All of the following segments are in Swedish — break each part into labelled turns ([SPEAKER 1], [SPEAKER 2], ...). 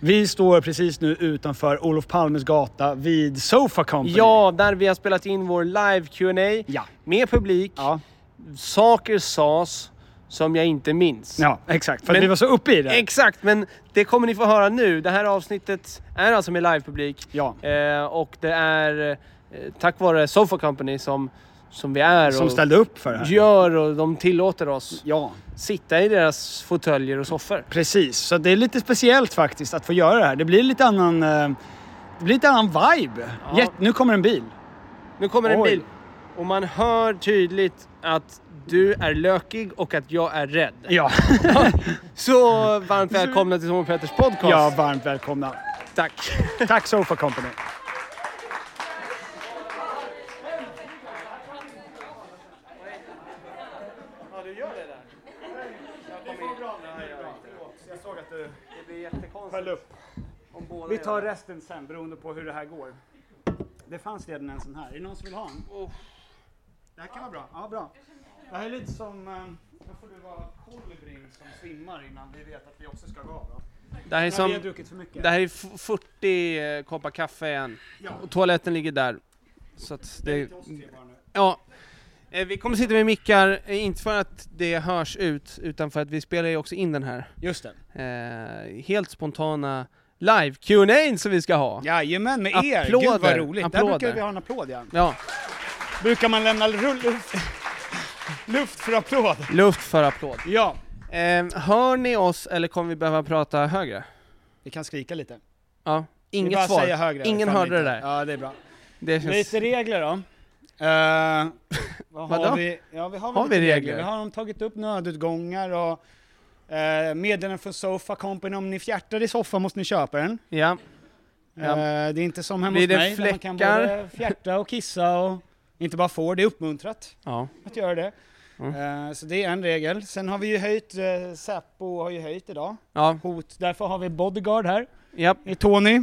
[SPEAKER 1] Vi står precis nu utanför Olof Palmes gata vid Sofa Company.
[SPEAKER 2] Ja, där vi har spelat in vår live Q&A
[SPEAKER 1] Ja.
[SPEAKER 2] med publik.
[SPEAKER 1] Ja,
[SPEAKER 2] Saker sades som jag inte minns.
[SPEAKER 1] ja exakt. För
[SPEAKER 2] Men-
[SPEAKER 1] att vi var så uppe i det.
[SPEAKER 2] Exakt, men det kommer ni få höra nu. Det här avsnittet är alltså med livepublik.
[SPEAKER 1] Ja.
[SPEAKER 2] Eh, och det är eh, tack vare Sofa Company som, som vi är
[SPEAKER 1] som
[SPEAKER 2] och
[SPEAKER 1] ställde upp för det här.
[SPEAKER 2] gör och de tillåter oss
[SPEAKER 1] Ja,
[SPEAKER 2] sitta i deras fåtöljer och soffor.
[SPEAKER 1] precis. Så det är lite speciellt faktiskt att få göra det här. Det blir lite annan... eh, Det blir lite annan vibe.
[SPEAKER 2] Ja.
[SPEAKER 1] Jätte- nu kommer en bil.
[SPEAKER 2] Nu kommer en
[SPEAKER 1] Oj.
[SPEAKER 2] bil och man hör tydligt att du är lökig och att jag är rädd.
[SPEAKER 1] Ja.
[SPEAKER 2] Så varmt välkomna till Tom och Peters podcast.
[SPEAKER 1] ja, varmt välkomna.
[SPEAKER 2] Tack.
[SPEAKER 1] Tack Sofa Company.
[SPEAKER 2] Ja, du gör det där. Jag kommer
[SPEAKER 1] Jag såg att du
[SPEAKER 2] Det blir jättekonstigt
[SPEAKER 1] upp.
[SPEAKER 2] om båda
[SPEAKER 1] Vi tar resten sen beroende på hur det här går. Det fanns redan en sån här. Är det någon som vill ha en?
[SPEAKER 2] Oh.
[SPEAKER 1] Det här kan vara bra. Ja, bra. Det här är lite som... eh, Då får du vara kolibrin som svimmar innan vi vet att vi också ska gå av. då.
[SPEAKER 2] Det här är
[SPEAKER 1] Men Vi har
[SPEAKER 2] som...
[SPEAKER 1] druckit för mycket.
[SPEAKER 2] Det här är f- 40 eh, koppar kaffe igen.
[SPEAKER 1] Ja.
[SPEAKER 2] Och toaletten ligger där. Så att det...
[SPEAKER 1] Till oss tre bara nu.
[SPEAKER 2] Ja. Eh, Vi kommer sitta med mickar, eh, inte för att det hörs ut, utan för att vi spelar ju också in den här
[SPEAKER 1] Just det.
[SPEAKER 2] eh, helt spontana live qa som vi ska ha.
[SPEAKER 1] Jajamän, med er.
[SPEAKER 2] Applåder.
[SPEAKER 1] Gud vad roligt. Där
[SPEAKER 2] Applåder.
[SPEAKER 1] brukar vi ha en applåd ja.
[SPEAKER 2] Ja,
[SPEAKER 1] Brukar man lämna rull- luft, luft för applåd?
[SPEAKER 2] luft för applåd.
[SPEAKER 1] Ja.
[SPEAKER 2] Eh, hör ni oss eller kommer vi behöva prata högre?
[SPEAKER 1] Vi kan skrika lite.
[SPEAKER 2] Ja,
[SPEAKER 1] Det är bara
[SPEAKER 2] inget
[SPEAKER 1] att
[SPEAKER 2] svar.
[SPEAKER 1] Säga högre
[SPEAKER 2] Ingen
[SPEAKER 1] ifall
[SPEAKER 2] hörde
[SPEAKER 1] inte-
[SPEAKER 2] det där.
[SPEAKER 1] Ja, det är bra.
[SPEAKER 2] Det känns...
[SPEAKER 1] Lite regler då. Eh, vad
[SPEAKER 2] Vadå?
[SPEAKER 1] har vi? Ja, vi har, väl
[SPEAKER 2] Har vi
[SPEAKER 1] lite
[SPEAKER 2] regler?
[SPEAKER 1] Vi har de tagit upp nödutgångar och uh, meddelanden från Sofa Company. Om ni fjärtar i soffan måste ni köpa den.
[SPEAKER 2] Ja.
[SPEAKER 1] Eh,
[SPEAKER 2] Ja.
[SPEAKER 1] det är inte som hemma
[SPEAKER 2] Blir
[SPEAKER 1] hos
[SPEAKER 2] det
[SPEAKER 1] mig där man kan
[SPEAKER 2] fläckar?
[SPEAKER 1] både fjärta och kissa och inte bara får, det är uppmuntrat
[SPEAKER 2] ja.
[SPEAKER 1] att göra det.
[SPEAKER 2] Mm.
[SPEAKER 1] Eh, så det är en regel. Sen har vi ju höjt, uh, Säpo har ju höjt idag,
[SPEAKER 2] Ja.
[SPEAKER 1] hot. Därför har vi bodyguard här,
[SPEAKER 2] Japp.
[SPEAKER 1] det är Tony.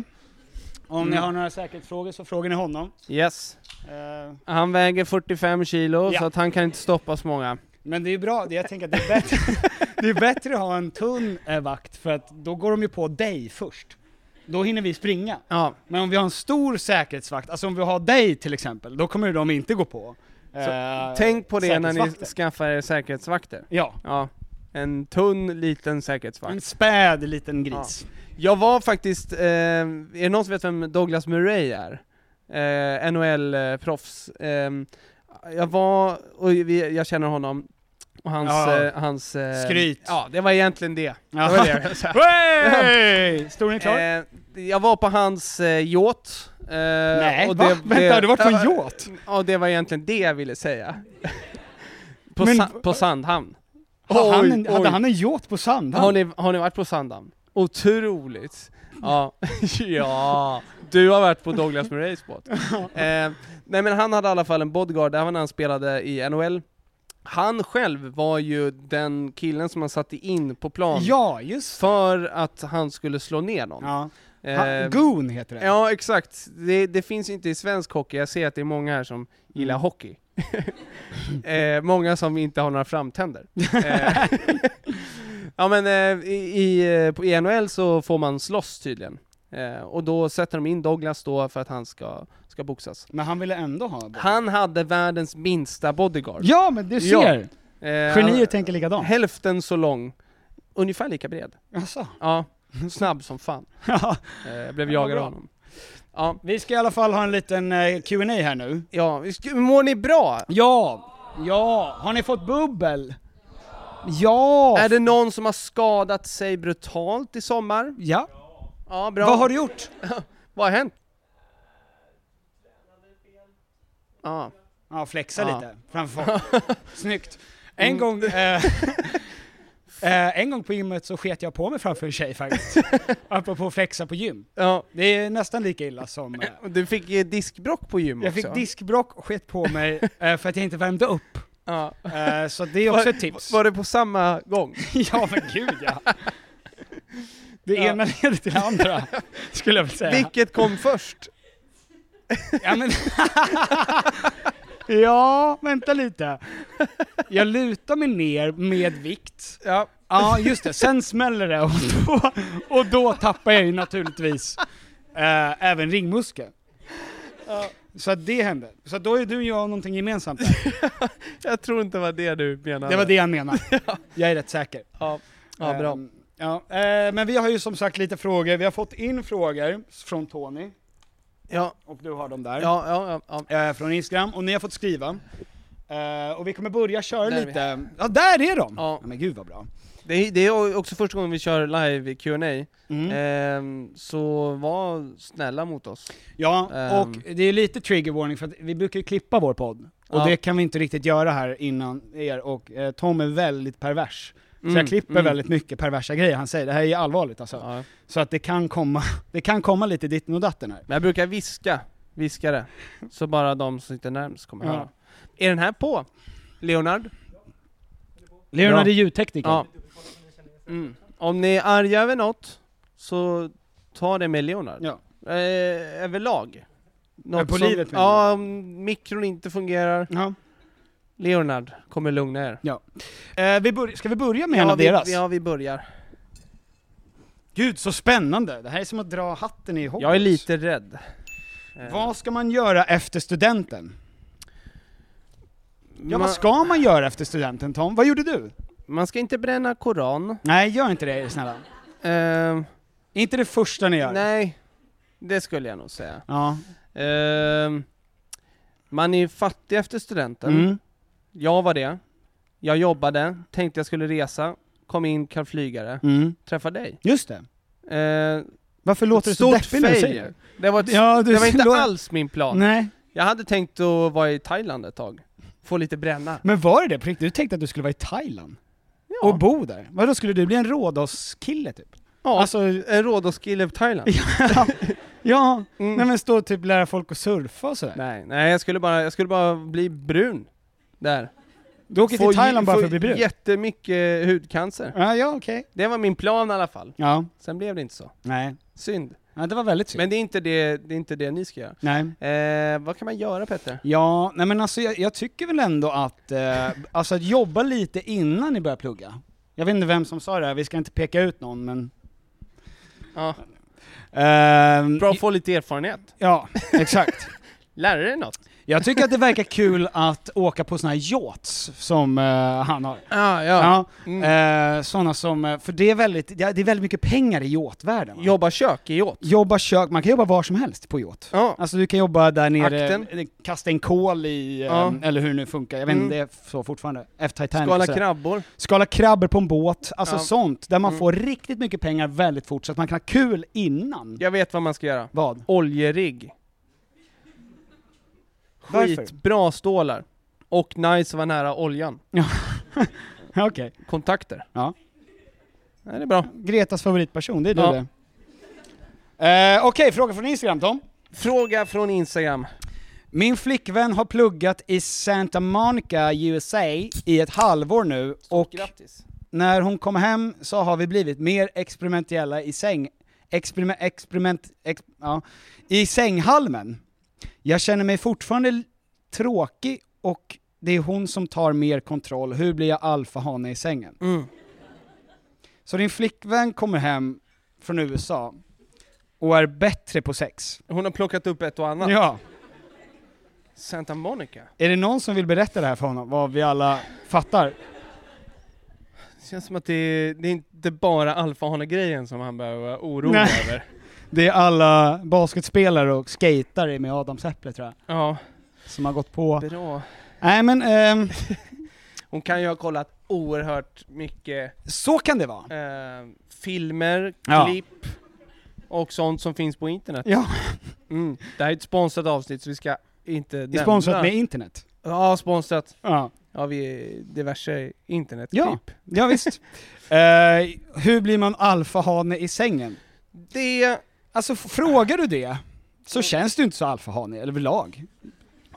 [SPEAKER 1] Om ni
[SPEAKER 2] Mm.
[SPEAKER 1] har några säkerhetsfrågor så frågar ni honom.
[SPEAKER 2] Yes.
[SPEAKER 1] Eh,
[SPEAKER 2] Han väger 45 kilo
[SPEAKER 1] Ja.
[SPEAKER 2] så att han kan inte stoppas många.
[SPEAKER 1] Men det är ju bra, jag tänker att det är bättre, det är bättre att ha en tunn eh, vakt för att då går de ju på dig först. Då hinner vi springa.
[SPEAKER 2] Ja,
[SPEAKER 1] Men om vi har en stor säkerhetsvakt, alltså om vi har dig till exempel, då kommer ju de inte gå på. eh,
[SPEAKER 2] tänk på det när ni
[SPEAKER 1] säkerhetsvakter.
[SPEAKER 2] skaffar er säkerhetsvakter.
[SPEAKER 1] Ja,
[SPEAKER 2] Ja, en tunn liten säkerhetsvakt.
[SPEAKER 1] en späd liten gris.
[SPEAKER 2] Jag var faktiskt, eh, är det någon som vet vem Douglas Murray är? Eh, NHL-proffs. Eh, jag var, och vi, jag känner honom, och hans...
[SPEAKER 1] Ja.
[SPEAKER 2] Eh, hans eh,
[SPEAKER 1] Skryt.
[SPEAKER 2] Ja, det var egentligen det.
[SPEAKER 1] Ja.
[SPEAKER 2] det, var det. jag sa.
[SPEAKER 1] Hey! Storyn är klar?
[SPEAKER 2] Eh, jag var på hans eh, yacht. eh,
[SPEAKER 1] Nej,
[SPEAKER 2] och
[SPEAKER 1] va?
[SPEAKER 2] det-
[SPEAKER 1] Vänta, har du varit på en
[SPEAKER 2] Ja,
[SPEAKER 1] yacht?
[SPEAKER 2] Ja, det var egentligen det jag ville säga. på,
[SPEAKER 1] Men-
[SPEAKER 2] sa, på Sandhamn.
[SPEAKER 1] Hade han, en-
[SPEAKER 2] Oj,
[SPEAKER 1] hade
[SPEAKER 2] oj.
[SPEAKER 1] han en yacht på Sandhamn?
[SPEAKER 2] Har ni, har ni varit på Sandhamn? Otroligt! Ja. ja, du har varit på Douglas Murrays båt. Eh, nej men han hade i alla fall en bodyguard, det här var när han spelade i NHL. Han själv var ju den killen som man satte in på plan
[SPEAKER 1] Ja, just det.
[SPEAKER 2] för att han skulle slå ner någon.
[SPEAKER 1] Ja.
[SPEAKER 2] Eh,
[SPEAKER 1] Ha, Goon heter det.
[SPEAKER 2] Ja, exakt. Det, det finns inte i svensk hockey. Jag ser att det är många här som gillar hockey. eh, många som inte har några framtänder. Eh, ja men eh, i, i, eh, på- i NHL så får man slåss tydligen. Eh, och då sätter de in Douglas då för att han ska, ska boxas.
[SPEAKER 1] Men han ville ändå ha båt.
[SPEAKER 2] Han hade världens minsta bodyguard.
[SPEAKER 1] Ja, men du
[SPEAKER 2] Ja.
[SPEAKER 1] ser!
[SPEAKER 2] Eh,
[SPEAKER 1] Genier
[SPEAKER 2] han-
[SPEAKER 1] tänker likadant.
[SPEAKER 2] Hälften så lång, ungefär lika bred.
[SPEAKER 1] Alltså.
[SPEAKER 2] Ja, snabb som fan.
[SPEAKER 1] Ja.
[SPEAKER 2] Eh, jag blev
[SPEAKER 1] Ja,
[SPEAKER 2] jagad av
[SPEAKER 1] bra.
[SPEAKER 2] honom. Ja,
[SPEAKER 1] Vi ska i alla fall ha en liten eh, Q&A här nu.
[SPEAKER 2] ja, vi sk- mår ni bra?
[SPEAKER 1] Ja! Ja! Har ni fått bubbel? Ja!
[SPEAKER 2] Är det någon som har skadat sig brutalt i sommar?
[SPEAKER 1] Ja.
[SPEAKER 2] Ja, bra.
[SPEAKER 1] Vad har du gjort?
[SPEAKER 2] Vad har hänt? Ja.
[SPEAKER 1] Ja, flexa
[SPEAKER 2] Ja.
[SPEAKER 1] lite framför folk. Snyggt. En gång... Eh, eh, en gång på gymmet så sket jag på mig framför en tjej faktiskt. Apropå flexa på gym.
[SPEAKER 2] ja.
[SPEAKER 1] Det är nästan lika illa som... Eh,
[SPEAKER 2] och Du fick eh, diskbrock på gym
[SPEAKER 1] jag
[SPEAKER 2] också.
[SPEAKER 1] fick diskbrock och sket på mig eh, för att jag inte värmde upp.
[SPEAKER 2] Ja.
[SPEAKER 1] Eh, så det är också ett tips.
[SPEAKER 2] Var det på samma gång?
[SPEAKER 1] ja men gud ja. Det
[SPEAKER 2] Ja.
[SPEAKER 1] ena leder till det andra, skulle jag vilja säga.
[SPEAKER 2] Vilket kom först?
[SPEAKER 1] Ja, men... ja, vänta lite. Jag lutar mig ner med vikt,
[SPEAKER 2] Ja.
[SPEAKER 1] Ja, just det. Sen smäller det och då, och då tappar jag ju naturligtvis eh, även ringmuskeln. Så att det hände. Så att då är du och jag någonting gemensamt där.
[SPEAKER 2] Jag tror inte det var det du menade.
[SPEAKER 1] Det var det jag menade. Jag är rätt säker.
[SPEAKER 2] Ja, ja bra.
[SPEAKER 1] Ehm, ja, eh, men vi har ju som sagt lite frågor. Vi har fått in frågor från Tony,
[SPEAKER 2] Ja,
[SPEAKER 1] och du har dem där.
[SPEAKER 2] ja, ja, ja, ja.
[SPEAKER 1] Eh, från Instagram, och ni har fått skriva. Eh, och vi kommer börja köra
[SPEAKER 2] Där är vi
[SPEAKER 1] lite. Ja, där är de!
[SPEAKER 2] Ja.
[SPEAKER 1] Men gud vad bra.
[SPEAKER 2] Det, är, det är också första gången vi kör live Q&A
[SPEAKER 1] Mm.
[SPEAKER 2] Ehm, så var snälla mot oss.
[SPEAKER 1] Ja,
[SPEAKER 2] Ehm.
[SPEAKER 1] och det är lite trigger warning för att vi brukar ju klippa vår podd, och
[SPEAKER 2] Ja.
[SPEAKER 1] det kan vi inte riktigt göra här innan er, och eh, Tom är väldigt pervers. Så jag klipper väldigt mycket perversa grejer, han säger det här är ju allvarligt alltså.
[SPEAKER 2] Mm, Ja.
[SPEAKER 1] Så att det kan komma, det kan komma lite ditten och datten här.
[SPEAKER 2] Men jag brukar viska, viska det. Så bara de som sitter närmst kommer
[SPEAKER 1] Ja.
[SPEAKER 2] höra. Är den här på? Leonard?
[SPEAKER 1] Leonard
[SPEAKER 2] Bra.
[SPEAKER 1] är ljudtekniker.
[SPEAKER 2] Ja. Mm. Om ni är arga över något, så ta det med Leonard.
[SPEAKER 1] Ja.
[SPEAKER 2] Eh, överlag. Något
[SPEAKER 1] på livet menar
[SPEAKER 2] Ja, om mikron inte fungerar,
[SPEAKER 1] Ja.
[SPEAKER 2] Leonard kommer lugna er.
[SPEAKER 1] Eh, vi bör- ska vi börja med en
[SPEAKER 2] ja,
[SPEAKER 1] av
[SPEAKER 2] vi,
[SPEAKER 1] deras?
[SPEAKER 2] Ja, vi börjar.
[SPEAKER 1] Gud, så spännande! Det här är som att dra hatten i håret.
[SPEAKER 2] Jag är lite rädd. Eh,
[SPEAKER 1] Vad ska man göra efter studenten? Ja,
[SPEAKER 2] man,
[SPEAKER 1] vad ska man göra efter studenten, Tom? Vad gjorde du?
[SPEAKER 2] man ska inte bränna koran.
[SPEAKER 1] Nej, gör inte det, snälla.
[SPEAKER 2] Ehm,
[SPEAKER 1] Är inte det första ni gör?
[SPEAKER 2] Nej, det skulle jag nog säga.
[SPEAKER 1] Ja.
[SPEAKER 2] Ehm, man är ju fattig efter studenten.
[SPEAKER 1] Mm.
[SPEAKER 2] Jag var det. Jag jobbade, tänkte jag skulle resa, kom in, kall flygare,
[SPEAKER 1] Mm.
[SPEAKER 2] träffa dig.
[SPEAKER 1] Just det.
[SPEAKER 2] Ehm,
[SPEAKER 1] Varför låter
[SPEAKER 2] ett
[SPEAKER 1] du så
[SPEAKER 2] stort
[SPEAKER 1] deppig när du
[SPEAKER 2] fail.
[SPEAKER 1] säger det?
[SPEAKER 2] Det var, ett,
[SPEAKER 1] Ja, du
[SPEAKER 2] det var inte
[SPEAKER 1] låter-
[SPEAKER 2] alls min plan.
[SPEAKER 1] Nej.
[SPEAKER 2] Jag hade tänkt att vara i Thailand ett tag. Få lite bränna.
[SPEAKER 1] Men var det det på riktigt? Du tänkte att du skulle vara i Thailand?
[SPEAKER 2] Ja,
[SPEAKER 1] Och bo där? Vadå, skulle du bli en Rhodos-kille typ?
[SPEAKER 2] ja
[SPEAKER 1] Alltså,
[SPEAKER 2] en Rhodos-kille i Thailand.
[SPEAKER 1] ja,
[SPEAKER 2] Mm.
[SPEAKER 1] nej men stå och typ lära folk att surfa och sådär.
[SPEAKER 2] Nej, nej jag, skulle bara, jag skulle bara bli brun. Där.
[SPEAKER 1] Du åker
[SPEAKER 2] Få
[SPEAKER 1] till Thailand
[SPEAKER 2] ju-
[SPEAKER 1] bara
[SPEAKER 2] få
[SPEAKER 1] för att bli brun?
[SPEAKER 2] jättemycket hudcancer.
[SPEAKER 1] Ja, ja okej.
[SPEAKER 2] Det var min plan i alla fall.
[SPEAKER 1] Ja,
[SPEAKER 2] Sen blev det inte så.
[SPEAKER 1] nej.
[SPEAKER 2] Synd.
[SPEAKER 1] Ja, det var väldigt synd.
[SPEAKER 2] Men det är inte det, det, är inte det ni ska göra.
[SPEAKER 1] nej.
[SPEAKER 2] Eh, vad kan man göra Petter?
[SPEAKER 1] Ja, nej men alltså jag, jag tycker väl ändå att, eh, alltså att jobba lite innan ni börjar plugga. Jag vet inte vem som sa det här, vi ska inte peka ut någon men...
[SPEAKER 2] Ja,
[SPEAKER 1] Ehm,
[SPEAKER 2] bra att få lite erfarenhet.
[SPEAKER 1] Ja, exakt.
[SPEAKER 2] Lära dig något.
[SPEAKER 1] Jag tycker att det verkar kul att åka på såna här yachts som eh, han har.
[SPEAKER 2] Ah, ja. Mm.
[SPEAKER 1] Ja, eh, såna som, eh, för det är väldigt, det är det är väldigt mycket pengar i yachtvärlden. va?
[SPEAKER 2] Jobba kök i yacht.
[SPEAKER 1] Jobba kök, man kan jobba var som helst på yacht.
[SPEAKER 2] Ja.
[SPEAKER 1] Alltså du kan jobba där nere,
[SPEAKER 2] Akten.
[SPEAKER 1] eh, kasta en kol i, eh,
[SPEAKER 2] Ja.
[SPEAKER 1] eller hur det nu funkar, jag vet inte,
[SPEAKER 2] Mm.
[SPEAKER 1] det är så fortfarande. Efter Titanic
[SPEAKER 2] Skala
[SPEAKER 1] så där.
[SPEAKER 2] krabbor.
[SPEAKER 1] skala krabbor på en båt, alltså
[SPEAKER 2] Ja.
[SPEAKER 1] sånt, där man
[SPEAKER 2] Mm.
[SPEAKER 1] får riktigt mycket pengar väldigt fort så att man kan ha kul innan.
[SPEAKER 2] Jag vet vad man ska göra.
[SPEAKER 1] Vad?
[SPEAKER 2] Oljerigg.
[SPEAKER 1] Varför?
[SPEAKER 2] Skitbra stålar. Och nice att vara nära oljan.
[SPEAKER 1] Okej.
[SPEAKER 2] Kontakter.
[SPEAKER 1] Ja.
[SPEAKER 2] Nej, det är bra.
[SPEAKER 1] Gretas favoritperson, det är du
[SPEAKER 2] Ja.
[SPEAKER 1] det. Eh, Okej, fråga från Instagram Tom.
[SPEAKER 2] Fråga från Instagram.
[SPEAKER 1] Min flickvän har pluggat i Santa Monica, USA i ett halvår nu och
[SPEAKER 2] Grattis.
[SPEAKER 1] när hon kom hem så har vi blivit mer experimentella i säng... Experiment... experiment ex, ja, I sänghalmen. Jag känner mig fortfarande l- tråkig och det är hon som tar mer kontroll. Hur blir jag alfahane i sängen?
[SPEAKER 2] Mm.
[SPEAKER 1] Så din flickvän kommer hem från USA och är bättre på sex.
[SPEAKER 2] Hon har plockat upp ett och annat.
[SPEAKER 1] Ja.
[SPEAKER 2] Santa Monica.
[SPEAKER 1] Är det någon som vill berätta det här för honom? Vad vi alla fattar?
[SPEAKER 2] Det känns som att det, det är inte bara alfahane-grejen som han behöver vara orolig
[SPEAKER 1] Nej.
[SPEAKER 2] över.
[SPEAKER 1] Det är alla basketspelare och skatare med adamsäpple tror jag,
[SPEAKER 2] Ja,
[SPEAKER 1] som har gått på...
[SPEAKER 2] bra.
[SPEAKER 1] Nej men, ehm,
[SPEAKER 2] Hon kan ju ha kollat oerhört mycket
[SPEAKER 1] så kan det vara.
[SPEAKER 2] eh, filmer,
[SPEAKER 1] Ja.
[SPEAKER 2] klipp och sånt som finns på internet.
[SPEAKER 1] Ja,
[SPEAKER 2] Mm. Det här är ett sponsrat avsnitt så vi ska inte
[SPEAKER 1] det är
[SPEAKER 2] nämna.
[SPEAKER 1] sponsrat med internet.
[SPEAKER 2] Ja, sponsrat.
[SPEAKER 1] Ja,
[SPEAKER 2] Ja, vi är diverse
[SPEAKER 1] ja,
[SPEAKER 2] internetklipp.
[SPEAKER 1] ja visst. Eh, hur blir man alfahane i sängen?
[SPEAKER 2] Det...
[SPEAKER 1] Alltså f- frågar du det, så känns du inte så alfahane överlag.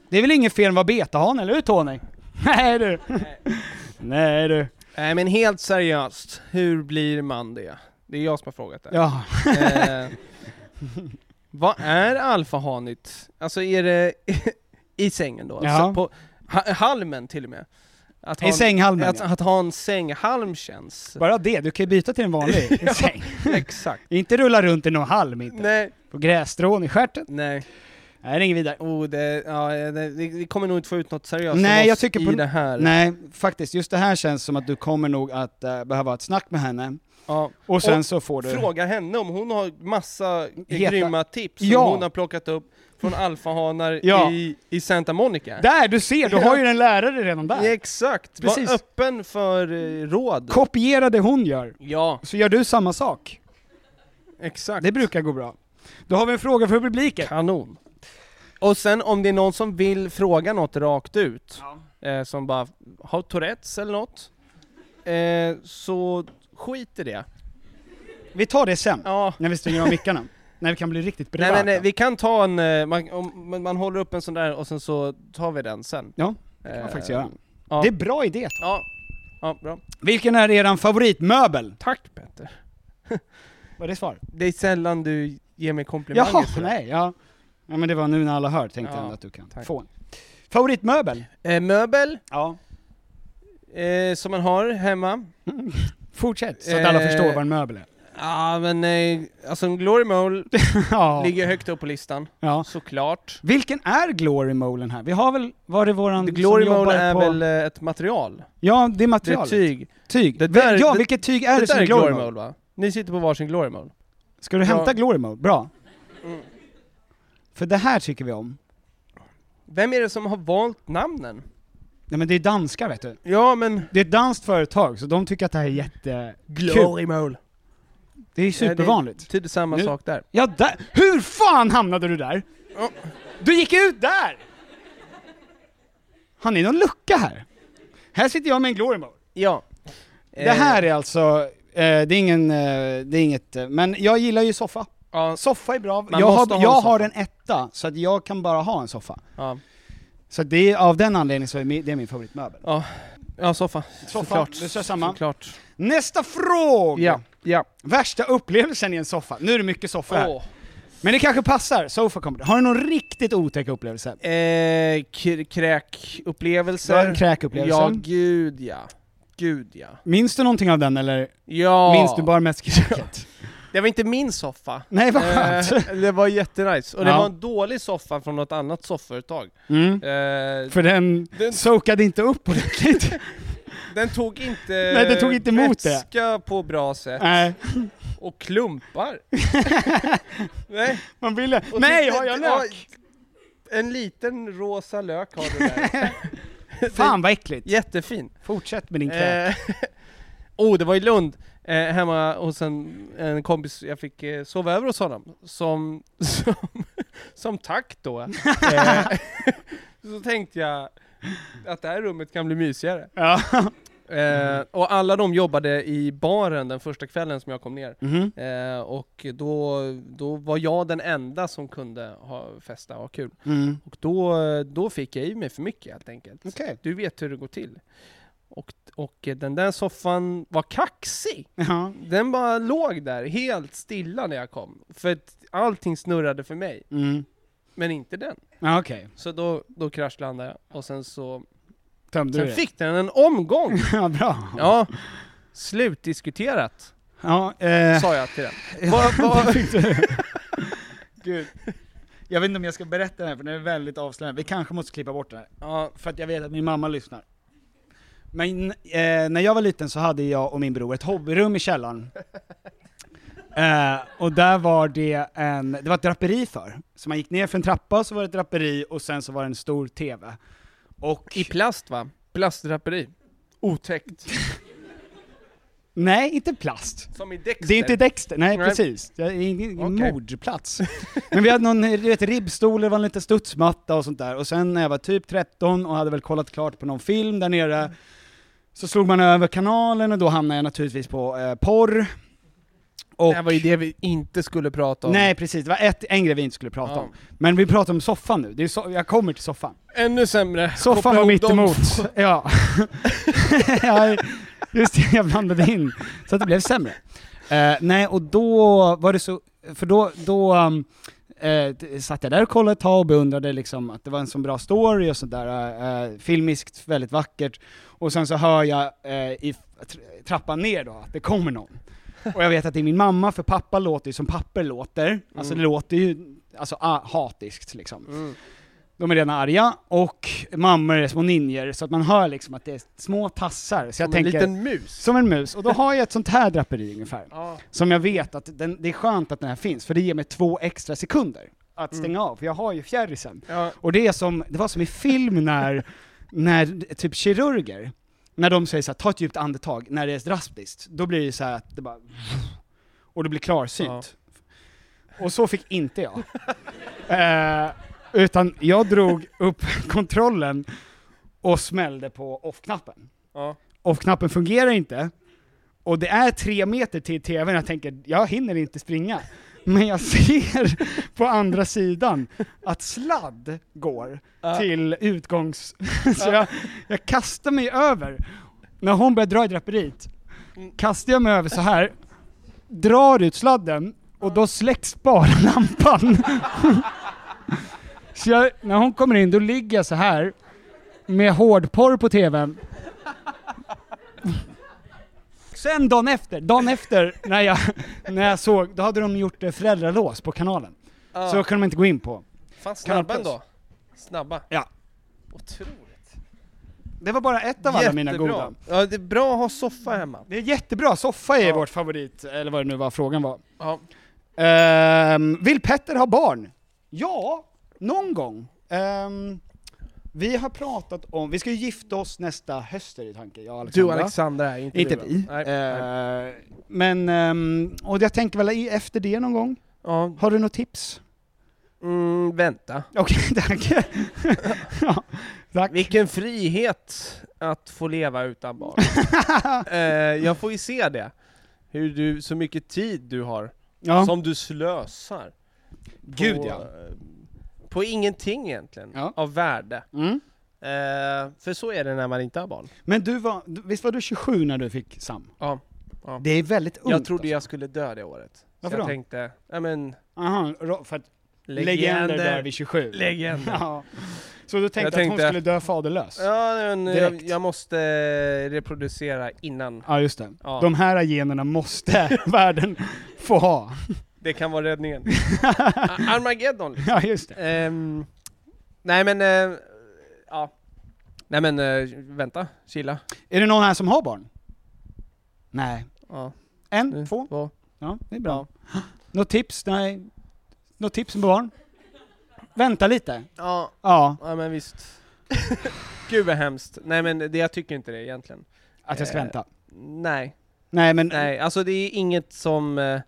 [SPEAKER 1] Det är väl inget fel med att vara betahane, eller hur Tony? Nej du! Nej du.
[SPEAKER 2] Nej men helt seriöst, hur blir man det? Det är jag som har frågat det.
[SPEAKER 1] Ja.
[SPEAKER 2] Eh, vad är alfahanigt? Alltså är det i sängen då?
[SPEAKER 1] Ja.
[SPEAKER 2] Alltså på ha- halmen till och med? Att
[SPEAKER 1] I
[SPEAKER 2] ha en,
[SPEAKER 1] sänghalmen
[SPEAKER 2] att,
[SPEAKER 1] ja.
[SPEAKER 2] att ha en sänghalm känns...
[SPEAKER 1] Bara det, du kan ju byta till en vanlig
[SPEAKER 2] Ja.
[SPEAKER 1] säng.
[SPEAKER 2] Exakt.
[SPEAKER 1] Inte rulla runt i någon halm inte.
[SPEAKER 2] Nej,
[SPEAKER 1] På grässtrån i stjärten.
[SPEAKER 2] nej.
[SPEAKER 1] Nej, det är inget vidare.
[SPEAKER 2] Oh, det, ja, det, vi- vi kommer nog inte få ut något seriöst
[SPEAKER 1] Nej,
[SPEAKER 2] av
[SPEAKER 1] jag
[SPEAKER 2] oss
[SPEAKER 1] tycker
[SPEAKER 2] i
[SPEAKER 1] på-
[SPEAKER 2] det här.
[SPEAKER 1] Nej, faktiskt. Just det här känns som att du kommer nog att eh, behöva ha ett snack med henne.
[SPEAKER 2] Ja.
[SPEAKER 1] Och sen så får du...
[SPEAKER 2] Fråga henne om hon har massa
[SPEAKER 1] Heta-
[SPEAKER 2] grymma tips som
[SPEAKER 1] Ja.
[SPEAKER 2] hon har plockat upp från alfahanar
[SPEAKER 1] Ja.
[SPEAKER 2] i, i Santa Monica.
[SPEAKER 1] Där, du ser! Du har ju en lärare redan där.
[SPEAKER 2] Exakt,
[SPEAKER 1] Precis.
[SPEAKER 2] var öppen för eh, råd.
[SPEAKER 1] Kopiera det hon gör,
[SPEAKER 2] ja,
[SPEAKER 1] så gör du samma sak.
[SPEAKER 2] exakt.
[SPEAKER 1] Det brukar gå bra. Då har vi en fråga för publiken.
[SPEAKER 2] Kanon. Och sen om det är någon som vill fråga något rakt ut, eh, som bara har Tourettes eller något, eh, så skit i det.
[SPEAKER 1] Vi tar det sen,
[SPEAKER 2] Ja.
[SPEAKER 1] när vi stänger av mickarna. När vi kan bli riktigt privata.
[SPEAKER 2] Nej men eh, vi kan ta en, eh, man, om, man- man håller upp en sån där och sen så tar vi den sen. Eh,
[SPEAKER 1] Ja, det kan man faktiskt göra.
[SPEAKER 2] ja.
[SPEAKER 1] Det är bra idé.
[SPEAKER 2] Ja, ja bra.
[SPEAKER 1] Vilken är eran favoritmöbel?
[SPEAKER 2] Tack Peter.
[SPEAKER 1] Var det svar?
[SPEAKER 2] Det är sällan du ger mig komplimanger
[SPEAKER 1] Jaha,
[SPEAKER 2] för det.
[SPEAKER 1] nej, ja. ja. men det var nu när alla hör, tänkte
[SPEAKER 2] Ja,
[SPEAKER 1] jag ändå att du kan
[SPEAKER 2] tack.
[SPEAKER 1] få en. Favoritmöbel?
[SPEAKER 2] Eh, möbel,
[SPEAKER 1] Ja.
[SPEAKER 2] eh, som man har hemma.
[SPEAKER 1] Fortsätt, så att alla
[SPEAKER 2] Eh.
[SPEAKER 1] förstår vad en möbel är.
[SPEAKER 2] Ja men eh, alltså en glory mole
[SPEAKER 1] ja.
[SPEAKER 2] ligger högt upp på listan,
[SPEAKER 1] ja.
[SPEAKER 2] såklart.
[SPEAKER 1] Vilken är glory molen här? Vi har väl, var det våran
[SPEAKER 2] The glory
[SPEAKER 1] som jobbar
[SPEAKER 2] mole är
[SPEAKER 1] på...
[SPEAKER 2] väl eh, ett material?
[SPEAKER 1] Ja, det är
[SPEAKER 2] Det är
[SPEAKER 1] material.
[SPEAKER 2] ett tyg.
[SPEAKER 1] tyg.
[SPEAKER 2] Det där-
[SPEAKER 1] ja,
[SPEAKER 2] det-
[SPEAKER 1] vilket tyg är
[SPEAKER 2] Det,
[SPEAKER 1] det,
[SPEAKER 2] där
[SPEAKER 1] som
[SPEAKER 2] är
[SPEAKER 1] glory,
[SPEAKER 2] glory
[SPEAKER 1] mole?
[SPEAKER 2] mole va? Ni sitter på varsin glory mole.
[SPEAKER 1] Ska du
[SPEAKER 2] Ja. Mm.
[SPEAKER 1] hämta glory mole? Bra. För det här tycker vi om.
[SPEAKER 2] Vem är det som har valt namnen?
[SPEAKER 1] Nej men det är danskar vet du.
[SPEAKER 2] Ja men...
[SPEAKER 1] Det är ett danskt företag, så de tycker att det här är jätte...
[SPEAKER 2] mole.
[SPEAKER 1] Eh, Det är supervanligt.
[SPEAKER 2] Betyder samma
[SPEAKER 1] Nu-
[SPEAKER 2] sak där.
[SPEAKER 1] Ja, där. Hur fan hamnade du där?
[SPEAKER 2] Ja.
[SPEAKER 1] Du gick ut där! Han är i någon lucka här. Här sitter jag med en glory mole.
[SPEAKER 2] Ja. Eh.
[SPEAKER 1] Det här är alltså, eh, det är ingen, eh, det är inget, eh, men jag gillar ju soffa.
[SPEAKER 2] Ja,
[SPEAKER 1] Soffa är bra,
[SPEAKER 2] Man
[SPEAKER 1] jag,
[SPEAKER 2] måste
[SPEAKER 1] har,
[SPEAKER 2] ha en
[SPEAKER 1] jag
[SPEAKER 2] soffa.
[SPEAKER 1] har en etta, så att jag kan bara ha en soffa.
[SPEAKER 2] ja.
[SPEAKER 1] Så att det är, av den anledningen så är mi- det är min favoritmöbel.
[SPEAKER 2] ja soffa.
[SPEAKER 1] Soffa, du kör samma.
[SPEAKER 2] Såklart.
[SPEAKER 1] Nästa fråga!
[SPEAKER 2] Ja, ja.
[SPEAKER 1] Värsta upplevelsen i en soffa. Nu är det mycket soffa här.
[SPEAKER 2] Åh.
[SPEAKER 1] Men det kanske passar, sofa kommer. Har du någon riktigt otäck upplevelse?
[SPEAKER 2] Eh, k-
[SPEAKER 1] Det var en
[SPEAKER 2] kräkupplevelser.
[SPEAKER 1] kräkupplevelse.
[SPEAKER 2] Ja, gud ja. Gud ja.
[SPEAKER 1] Minns du någonting av den eller
[SPEAKER 2] Ja!
[SPEAKER 1] minns du bara mest kräket?
[SPEAKER 2] Det var inte min soffa.
[SPEAKER 1] Nej vad skönt!
[SPEAKER 2] Eh, det var jättenice. Och det
[SPEAKER 1] Ja.
[SPEAKER 2] var en dålig soffa från något annat soffföretag.
[SPEAKER 1] Mm.
[SPEAKER 2] Eh,
[SPEAKER 1] För den,
[SPEAKER 2] Den-
[SPEAKER 1] soakade inte upp ordentligt.
[SPEAKER 2] den tog inte
[SPEAKER 1] Nej, den tog inte emot det.
[SPEAKER 2] vätska på bra sätt.
[SPEAKER 1] Nej,
[SPEAKER 2] Och klumpar. Nej.
[SPEAKER 1] man ville...
[SPEAKER 2] Och
[SPEAKER 1] Nej,
[SPEAKER 2] tyckte-
[SPEAKER 1] har jag
[SPEAKER 2] ja,
[SPEAKER 1] lök?
[SPEAKER 2] En liten rosa lök har du där.
[SPEAKER 1] Fan vad äckligt!
[SPEAKER 2] Jättefin.
[SPEAKER 1] Fortsätt med din kräk.
[SPEAKER 2] Eh, oh, det var i Lund, eh, hemma hos en, en kompis, jag fick eh, sova över hos honom. Som, som, som tack då. Eh, så tänkte jag att det här rummet kan bli mysigare.
[SPEAKER 1] Ja.
[SPEAKER 2] Eh, och alla de jobbade i baren den första kvällen som jag kom ner.
[SPEAKER 1] Mhm.
[SPEAKER 2] Eh, och då, då var jag den enda som kunde ha, festa och ha kul.
[SPEAKER 1] Mm.
[SPEAKER 2] Och då, då fick jag i mig för mycket helt enkelt.
[SPEAKER 1] Okej.
[SPEAKER 2] Du vet hur det går till. Och, och den där soffan var kaxig.
[SPEAKER 1] Ja.
[SPEAKER 2] Den bara låg där helt stilla när jag kom. För att allting snurrade för mig,
[SPEAKER 1] Mm.
[SPEAKER 2] men inte den.
[SPEAKER 1] Ja, okej.
[SPEAKER 2] Så då, då kraschlandade jag och sen så...
[SPEAKER 1] Tömde du
[SPEAKER 2] Sen
[SPEAKER 1] det?
[SPEAKER 2] fick den en omgång!
[SPEAKER 1] Ja, bra.
[SPEAKER 2] Ja, slutdiskuterat,
[SPEAKER 1] Ja, eh,
[SPEAKER 2] sa jag till den.
[SPEAKER 1] Vad, vad fick du? Gud. Jag vet inte om jag ska berätta det här för det är väldigt avslöjande. Vi kanske måste klippa bort det här.
[SPEAKER 2] Ja,
[SPEAKER 1] För att jag vet att min mamma lyssnar. Men eh, när jag var liten så hade jag och min bror ett hobbyrum i källaren. Eh, och där var det en, det var ett draperi för. Så man gick ner för en trappa och så var det ett draperi och sen så var det en stor TV. Och...
[SPEAKER 2] I plast va? Plastdraperi. Otäckt.
[SPEAKER 1] nej, inte plast.
[SPEAKER 2] Som i Dexter.
[SPEAKER 1] Det är inte Dexter, nej,
[SPEAKER 2] Nej.
[SPEAKER 1] precis. Det är ingen
[SPEAKER 2] Okej.
[SPEAKER 1] mordplats. Men vi hade någon, du vet, ribbstol, det var en liten studsmatta och sånt där. Och sen när jag var typ 13 och hade väl kollat klart på någon film där nere, så slog man över kanalen och då hamnade jag naturligtvis på eh, porr. Och,
[SPEAKER 2] Det här var ju det vi inte skulle prata om.
[SPEAKER 1] nej precis, det var ett, en grej vi inte skulle prata
[SPEAKER 2] Ja.
[SPEAKER 1] om. Men vi pratar om soffan nu, det är so- jag kommer till soffan.
[SPEAKER 2] Ännu sämre.
[SPEAKER 1] Soffan
[SPEAKER 2] Koppla
[SPEAKER 1] var
[SPEAKER 2] ihop
[SPEAKER 1] mitt
[SPEAKER 2] dem.
[SPEAKER 1] emot. Ja. Ja, Just det, jag blandade in. Så att det blev sämre. Eh, nej, och då var det så, för då, då um, eh, t- satt jag där och kollade ett tag och beundrade liksom att det var en så bra story och sådär, eh, filmiskt väldigt vackert. Och sen så hör jag eh, i f- tr- trappan ner då att det kommer någon. Och jag vet att det är min mamma, för pappa låter ju som papper låter. Alltså det låter ju alltså, a- hatiskt liksom.
[SPEAKER 2] Mm.
[SPEAKER 1] De är redan arga, och mammor är små ninjor, så att man hör liksom att det är små tassar. Så jag
[SPEAKER 2] Som
[SPEAKER 1] tänker,
[SPEAKER 2] en liten mus.
[SPEAKER 1] som en mus. Och då har jag ett sånt här draperi ungefär.
[SPEAKER 2] Ja.
[SPEAKER 1] Som jag vet att den, det är skönt att den här finns, för det ger mig två extra sekunder att
[SPEAKER 2] Mm.
[SPEAKER 1] stänga av, för jag har ju fjärrisen.
[SPEAKER 2] Ja.
[SPEAKER 1] Och det är som, det var som i film när, när typ kirurger, när de säger så här, ta ett djupt andetag, när det är drastiskt, då blir det så här att det bara, och det blir klarsynt. Och så fick inte jag. eh, utan jag drog upp kontrollen och smällde på off-knappen.
[SPEAKER 2] Ja.
[SPEAKER 1] Off-knappen fungerar inte, och det är tre meter till tvn, jag tänker, jag hinner inte springa. Men jag ser på andra sidan att sladd går
[SPEAKER 2] Ja.
[SPEAKER 1] till utgångs... Så jag, jag kastar mig över. När hon börjar dra i draperiet,
[SPEAKER 2] Mm.
[SPEAKER 1] kastar jag mig över så här, drar ut sladden och då släcks bara lampan. Så jag, när hon kommer in, då ligger jag så här med hårdporr på tvn. Sen dagen efter, dagen efter när jag, när jag såg, då hade de gjort eh, föräldralås på kanalen.
[SPEAKER 2] Ja.
[SPEAKER 1] Så kunde de inte gå in på.
[SPEAKER 2] Fan
[SPEAKER 1] Kanal
[SPEAKER 2] snabba
[SPEAKER 1] Plus.
[SPEAKER 2] ändå. Snabba.
[SPEAKER 1] Ja.
[SPEAKER 2] Otroligt.
[SPEAKER 1] Det var bara ett av alla mina goda.
[SPEAKER 2] Ja, det är bra att ha soffa hemma.
[SPEAKER 1] Det är jättebra, soffa är
[SPEAKER 2] Ja.
[SPEAKER 1] vårt favorit, eller vad det nu var frågan var.
[SPEAKER 2] Ja.
[SPEAKER 1] Ehm, vill Petter ha barn? Ja, någon gång. Ehm, vi har pratat om, vi ska ju gifta oss nästa höst är det tanken, jag och
[SPEAKER 2] Du
[SPEAKER 1] Alexandra.
[SPEAKER 2] och Alexandra är inte, Eh,
[SPEAKER 1] Inte
[SPEAKER 2] du, va?
[SPEAKER 1] vi.
[SPEAKER 2] Nej, nej.
[SPEAKER 1] Ehm, men, ehm, och jag tänker väl i- efter det någon gång.
[SPEAKER 2] Ja.
[SPEAKER 1] Har du något tips?
[SPEAKER 2] Mm, vänta.
[SPEAKER 1] Okej, tack. ja, tack.
[SPEAKER 2] Vilken frihet att få leva utan barn. eh, jag får ju se det. Hur du, så mycket tid du har,
[SPEAKER 1] Ja.
[SPEAKER 2] som du slösar.
[SPEAKER 1] Gud,
[SPEAKER 2] på,
[SPEAKER 1] ja.
[SPEAKER 2] eh, På ingenting egentligen,
[SPEAKER 1] Ja.
[SPEAKER 2] av värde.
[SPEAKER 1] Mm.
[SPEAKER 2] Eh, för så är det när man inte har barn.
[SPEAKER 1] Men du var, du- visst var du 27 när du fick Sam?
[SPEAKER 2] Ja.
[SPEAKER 1] Det är väldigt ungt. alltså.
[SPEAKER 2] Jag trodde jag skulle dö det året.
[SPEAKER 1] Varför
[SPEAKER 2] så jag
[SPEAKER 1] då?
[SPEAKER 2] tänkte, nej men,
[SPEAKER 1] Aha, ro- för att legender,
[SPEAKER 2] legender.
[SPEAKER 1] dör vid 27.
[SPEAKER 2] Legender.
[SPEAKER 1] Ja. Så du tänkte
[SPEAKER 2] Jag
[SPEAKER 1] att hon
[SPEAKER 2] tänkte-
[SPEAKER 1] skulle dö faderlös? Ja,
[SPEAKER 2] Ja, men jag,
[SPEAKER 1] Direkt.
[SPEAKER 2] jag måste eh, reproducera innan.
[SPEAKER 1] just det.
[SPEAKER 2] Ja.
[SPEAKER 1] De här generna måste världen få ha.
[SPEAKER 2] Det kan vara räddningen. Ar- Armageddon liksom.
[SPEAKER 1] Ja, just det.
[SPEAKER 2] Ehm, Nej men, eh, ja. Nej men, eh, vänta, chilla.
[SPEAKER 1] Är det någon här som har barn? Nej.
[SPEAKER 2] Ja,
[SPEAKER 1] En?
[SPEAKER 2] nu,
[SPEAKER 1] Två?
[SPEAKER 2] två.
[SPEAKER 1] Ja, det är bra. Något tips? Nej. Något tips på barn? Vänta lite.
[SPEAKER 2] Ja,
[SPEAKER 1] Ja,
[SPEAKER 2] ja men visst. Gud vad hemskt. Nej men det, jag tycker inte det egentligen.
[SPEAKER 1] att jag ska
[SPEAKER 2] Eh,
[SPEAKER 1] vänta.
[SPEAKER 2] Nej.
[SPEAKER 1] Nej men,
[SPEAKER 2] Nej, alltså det är inget som... eh,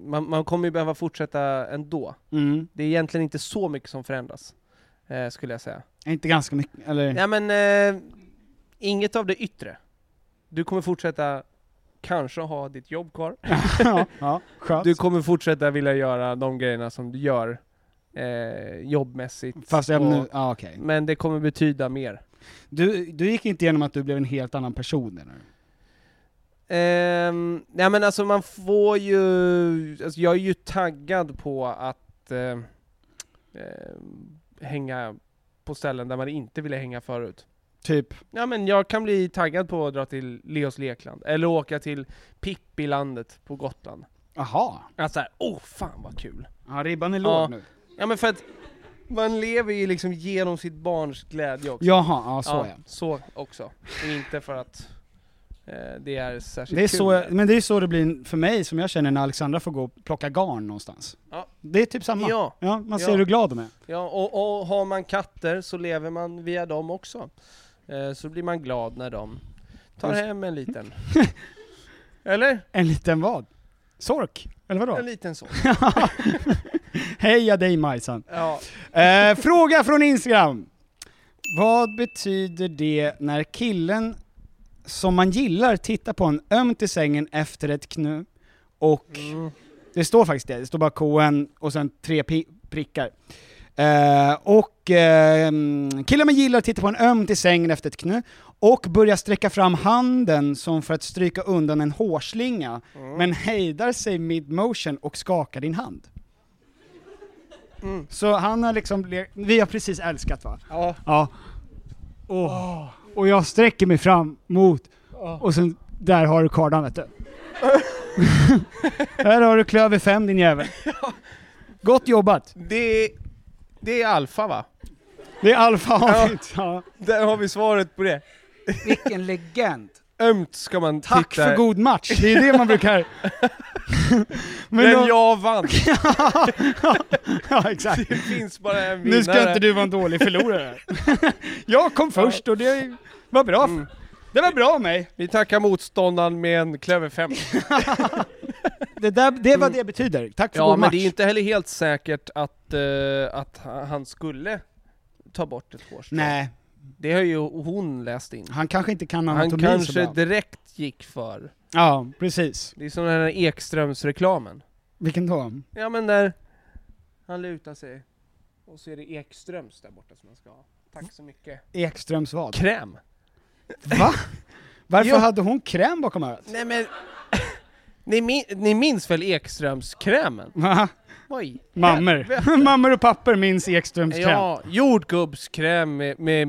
[SPEAKER 2] Man, man kommer ju behöva fortsätta ändå.
[SPEAKER 1] Mm,
[SPEAKER 2] Det är egentligen inte så mycket som förändras, eh, skulle jag säga.
[SPEAKER 1] inte ganska mycket, eller?
[SPEAKER 2] Nej men, eh, inget av det yttre. Du kommer fortsätta kanske ha ditt jobb kvar.
[SPEAKER 1] ja, ja, skönt.
[SPEAKER 2] Du kommer fortsätta vilja göra de grejerna som du gör eh, jobbmässigt.
[SPEAKER 1] Fast jag
[SPEAKER 2] och-
[SPEAKER 1] nu, ja okej.
[SPEAKER 2] Men det kommer betyda mer.
[SPEAKER 1] Du, du gick inte igenom att du blev en helt annan person eller?
[SPEAKER 2] Ehm, nej men alltså man får ju, alltså jag är ju taggad på att eh, eh, hänga på ställen där man inte ville hänga förut.
[SPEAKER 1] Typ,
[SPEAKER 2] Ja men jag kan bli taggad på att dra till Leos Lekland, eller åka till Pippilandet på Gotland.
[SPEAKER 1] aha.
[SPEAKER 2] Att såhär, oh fan vad kul!
[SPEAKER 1] Ja, ribban är
[SPEAKER 2] Ja.
[SPEAKER 1] låg nu.
[SPEAKER 2] Ja men för att man lever ju liksom genom sitt barns glädje också.
[SPEAKER 1] Jaha, ja så ja.
[SPEAKER 2] Så också. Och inte för att eh, det är särskilt
[SPEAKER 1] Det är
[SPEAKER 2] kul.
[SPEAKER 1] så, men det är så det blir för mig som jag känner när Alexandra får gå och plocka garn någonstans.
[SPEAKER 2] Ja.
[SPEAKER 1] Det är typ samma.
[SPEAKER 2] Ja.
[SPEAKER 1] man
[SPEAKER 2] Ja.
[SPEAKER 1] ser hur glad de är.
[SPEAKER 2] Ja, och, och har man katter så lever man via dem också. Eh, så blir man glad när de tar
[SPEAKER 1] Just-
[SPEAKER 2] hem en liten. Eller?
[SPEAKER 1] En liten vad? Sork? Eller vadå?
[SPEAKER 2] En liten sån.
[SPEAKER 1] Heja dig Majsan!
[SPEAKER 2] Ja.
[SPEAKER 1] Eh, fråga från Instagram! Vad betyder det när killen som man gillar tittar på en ömt i sängen efter ett knu och
[SPEAKER 2] Mm.
[SPEAKER 1] Det står faktiskt det, det står bara KN och sen tre pi- prickar. Eh, och eh, killar man gillar tittar på en ömt i sängen efter ett knö och börjar sträcka fram handen som för att stryka undan en hårslinga, men hejdar sig mid motion och skakar din hand.
[SPEAKER 2] Mm.
[SPEAKER 1] Så han har liksom, le- vi har precis älskat va?
[SPEAKER 2] Ja.
[SPEAKER 1] Ja. Åh. Och jag sträcker mig fram mot, och sen där har du kardan vet du. Här har du klöver fem din jävel. Gott jobbat!
[SPEAKER 2] Det, det är alfa va?
[SPEAKER 1] Det är alfa avsnitt. Ja.
[SPEAKER 2] Där har vi svaret på det.
[SPEAKER 1] Vilken legend!
[SPEAKER 2] Ömt ska man
[SPEAKER 1] Tack
[SPEAKER 2] titta.
[SPEAKER 1] för god match, det är det man brukar...
[SPEAKER 2] Men
[SPEAKER 1] då-
[SPEAKER 2] jag vann!
[SPEAKER 1] ja, exakt.
[SPEAKER 2] Det finns bara en vinnare.
[SPEAKER 1] Nu ska inte du vara en dålig förlorare. jag kom först och det var bra.
[SPEAKER 2] Mm.
[SPEAKER 1] Det var bra av mig.
[SPEAKER 2] Vi tackar motståndaren med en klöver 5.
[SPEAKER 1] Det, där, det var Mm. det betyder. Tack för
[SPEAKER 2] Ja,
[SPEAKER 1] god
[SPEAKER 2] men
[SPEAKER 1] match.
[SPEAKER 2] det är inte heller helt säkert att, eh, att ha- han skulle ta bort ett hårstrå.
[SPEAKER 1] Nej,
[SPEAKER 2] Det har ju hon läst in.
[SPEAKER 1] han kanske inte kan
[SPEAKER 2] Han
[SPEAKER 1] anatomi så
[SPEAKER 2] kanske
[SPEAKER 1] bra.
[SPEAKER 2] direkt gick för...
[SPEAKER 1] Ja, precis.
[SPEAKER 2] Det är som den här Ekströms-reklamen.
[SPEAKER 1] Vilken då?
[SPEAKER 2] Ja men där han lutar sig. Och så är det Ekströms där borta som man ska ha. Tack så mycket.
[SPEAKER 1] Ekströms vad?
[SPEAKER 2] Kräm!
[SPEAKER 1] Va? Varför
[SPEAKER 2] Jo.
[SPEAKER 1] hade hon kräm bakom örat?
[SPEAKER 2] Nej men... Ni, min- ni minns väl Ekströms-krämen?
[SPEAKER 1] Va?
[SPEAKER 2] Vad i
[SPEAKER 1] Mammor. Mammor och papper minns Ekströms kräm. Ja,
[SPEAKER 2] Ja, jordgubbskräm med, med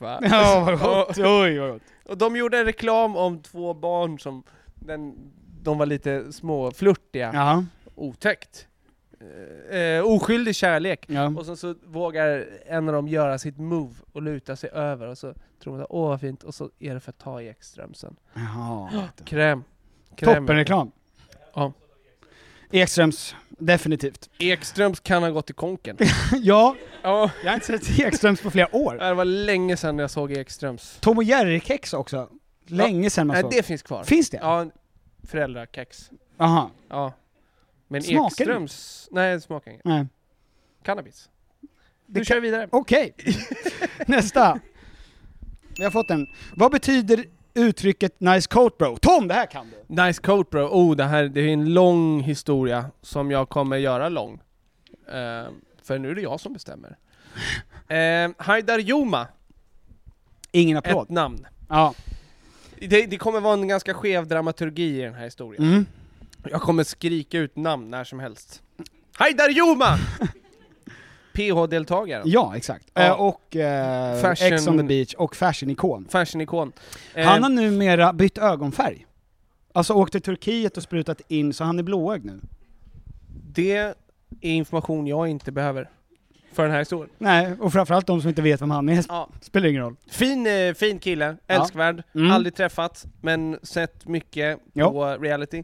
[SPEAKER 2] va?
[SPEAKER 1] vad gott. Oj, vad gott.
[SPEAKER 2] Och de gjorde en reklam om två barn som, den, de var lite små, flörtiga,
[SPEAKER 1] Ja,
[SPEAKER 2] otäckt. Eh, oskyldig kärlek.
[SPEAKER 1] ja.
[SPEAKER 2] Och sen så vågar en av dem göra sitt move och luta sig över och så tror man att åh vad fint, och så är det för att ta i Ekströmsen.
[SPEAKER 1] Jaha.
[SPEAKER 2] Kräm. Kräm.
[SPEAKER 1] Toppenreklam.
[SPEAKER 2] Ja.
[SPEAKER 1] Ekströms, definitivt.
[SPEAKER 2] Ekströms kan ha gått i konken.
[SPEAKER 1] ja,
[SPEAKER 2] ja,
[SPEAKER 1] jag har inte sett Ekströms på flera år.
[SPEAKER 2] det var länge sedan jag såg Ekströms.
[SPEAKER 1] Tom och Jerry-kex också. Länge sedan man
[SPEAKER 2] Nej,
[SPEAKER 1] såg.
[SPEAKER 2] det finns kvar.
[SPEAKER 1] Finns det?
[SPEAKER 2] Ja, föräldrakex.
[SPEAKER 1] Aha.
[SPEAKER 2] Ja. Men
[SPEAKER 1] Smakar det?
[SPEAKER 2] Ekströms... Nej, det smakar inget.
[SPEAKER 1] Nej.
[SPEAKER 2] Cannabis.
[SPEAKER 1] Det
[SPEAKER 2] Du kör vidare.
[SPEAKER 1] Okej. Nästa. Vi har fått en. Vad betyder uttrycket 'nice coat bro'? Tom, det här kan du!
[SPEAKER 2] Nice coat bro. Oh, det här det är en lång historia som jag kommer göra lång. Eh, för nu är det jag som bestämmer. Eh, Haidar Joma,
[SPEAKER 1] Ingen
[SPEAKER 2] ett
[SPEAKER 1] applåd.
[SPEAKER 2] namn.
[SPEAKER 1] Ja.
[SPEAKER 2] Det, det kommer vara en ganska skev dramaturgi i den här historien.
[SPEAKER 1] Mm.
[SPEAKER 2] Jag kommer skrika ut namn när som helst. Haidar Joma! PH-deltagaren.
[SPEAKER 1] Ja, exakt.
[SPEAKER 2] Ja.
[SPEAKER 1] Eh, och eh,
[SPEAKER 2] Fashion-
[SPEAKER 1] Ex on the beach och fashionikon.
[SPEAKER 2] Fashionikon. Eh,
[SPEAKER 1] Han har numera bytt ögonfärg. Alltså åkt till Turkiet och sprutat in, så han är blåögd nu.
[SPEAKER 2] Det är information jag inte behöver för den här historien.
[SPEAKER 1] Nej, och framförallt de som inte vet vem han är, sp-
[SPEAKER 2] Ja.
[SPEAKER 1] spelar ingen roll.
[SPEAKER 2] Fin, eh, fin kille,
[SPEAKER 1] Ja.
[SPEAKER 2] älskvärd,
[SPEAKER 1] Mm.
[SPEAKER 2] aldrig träffat, men sett mycket
[SPEAKER 1] Ja.
[SPEAKER 2] på reality.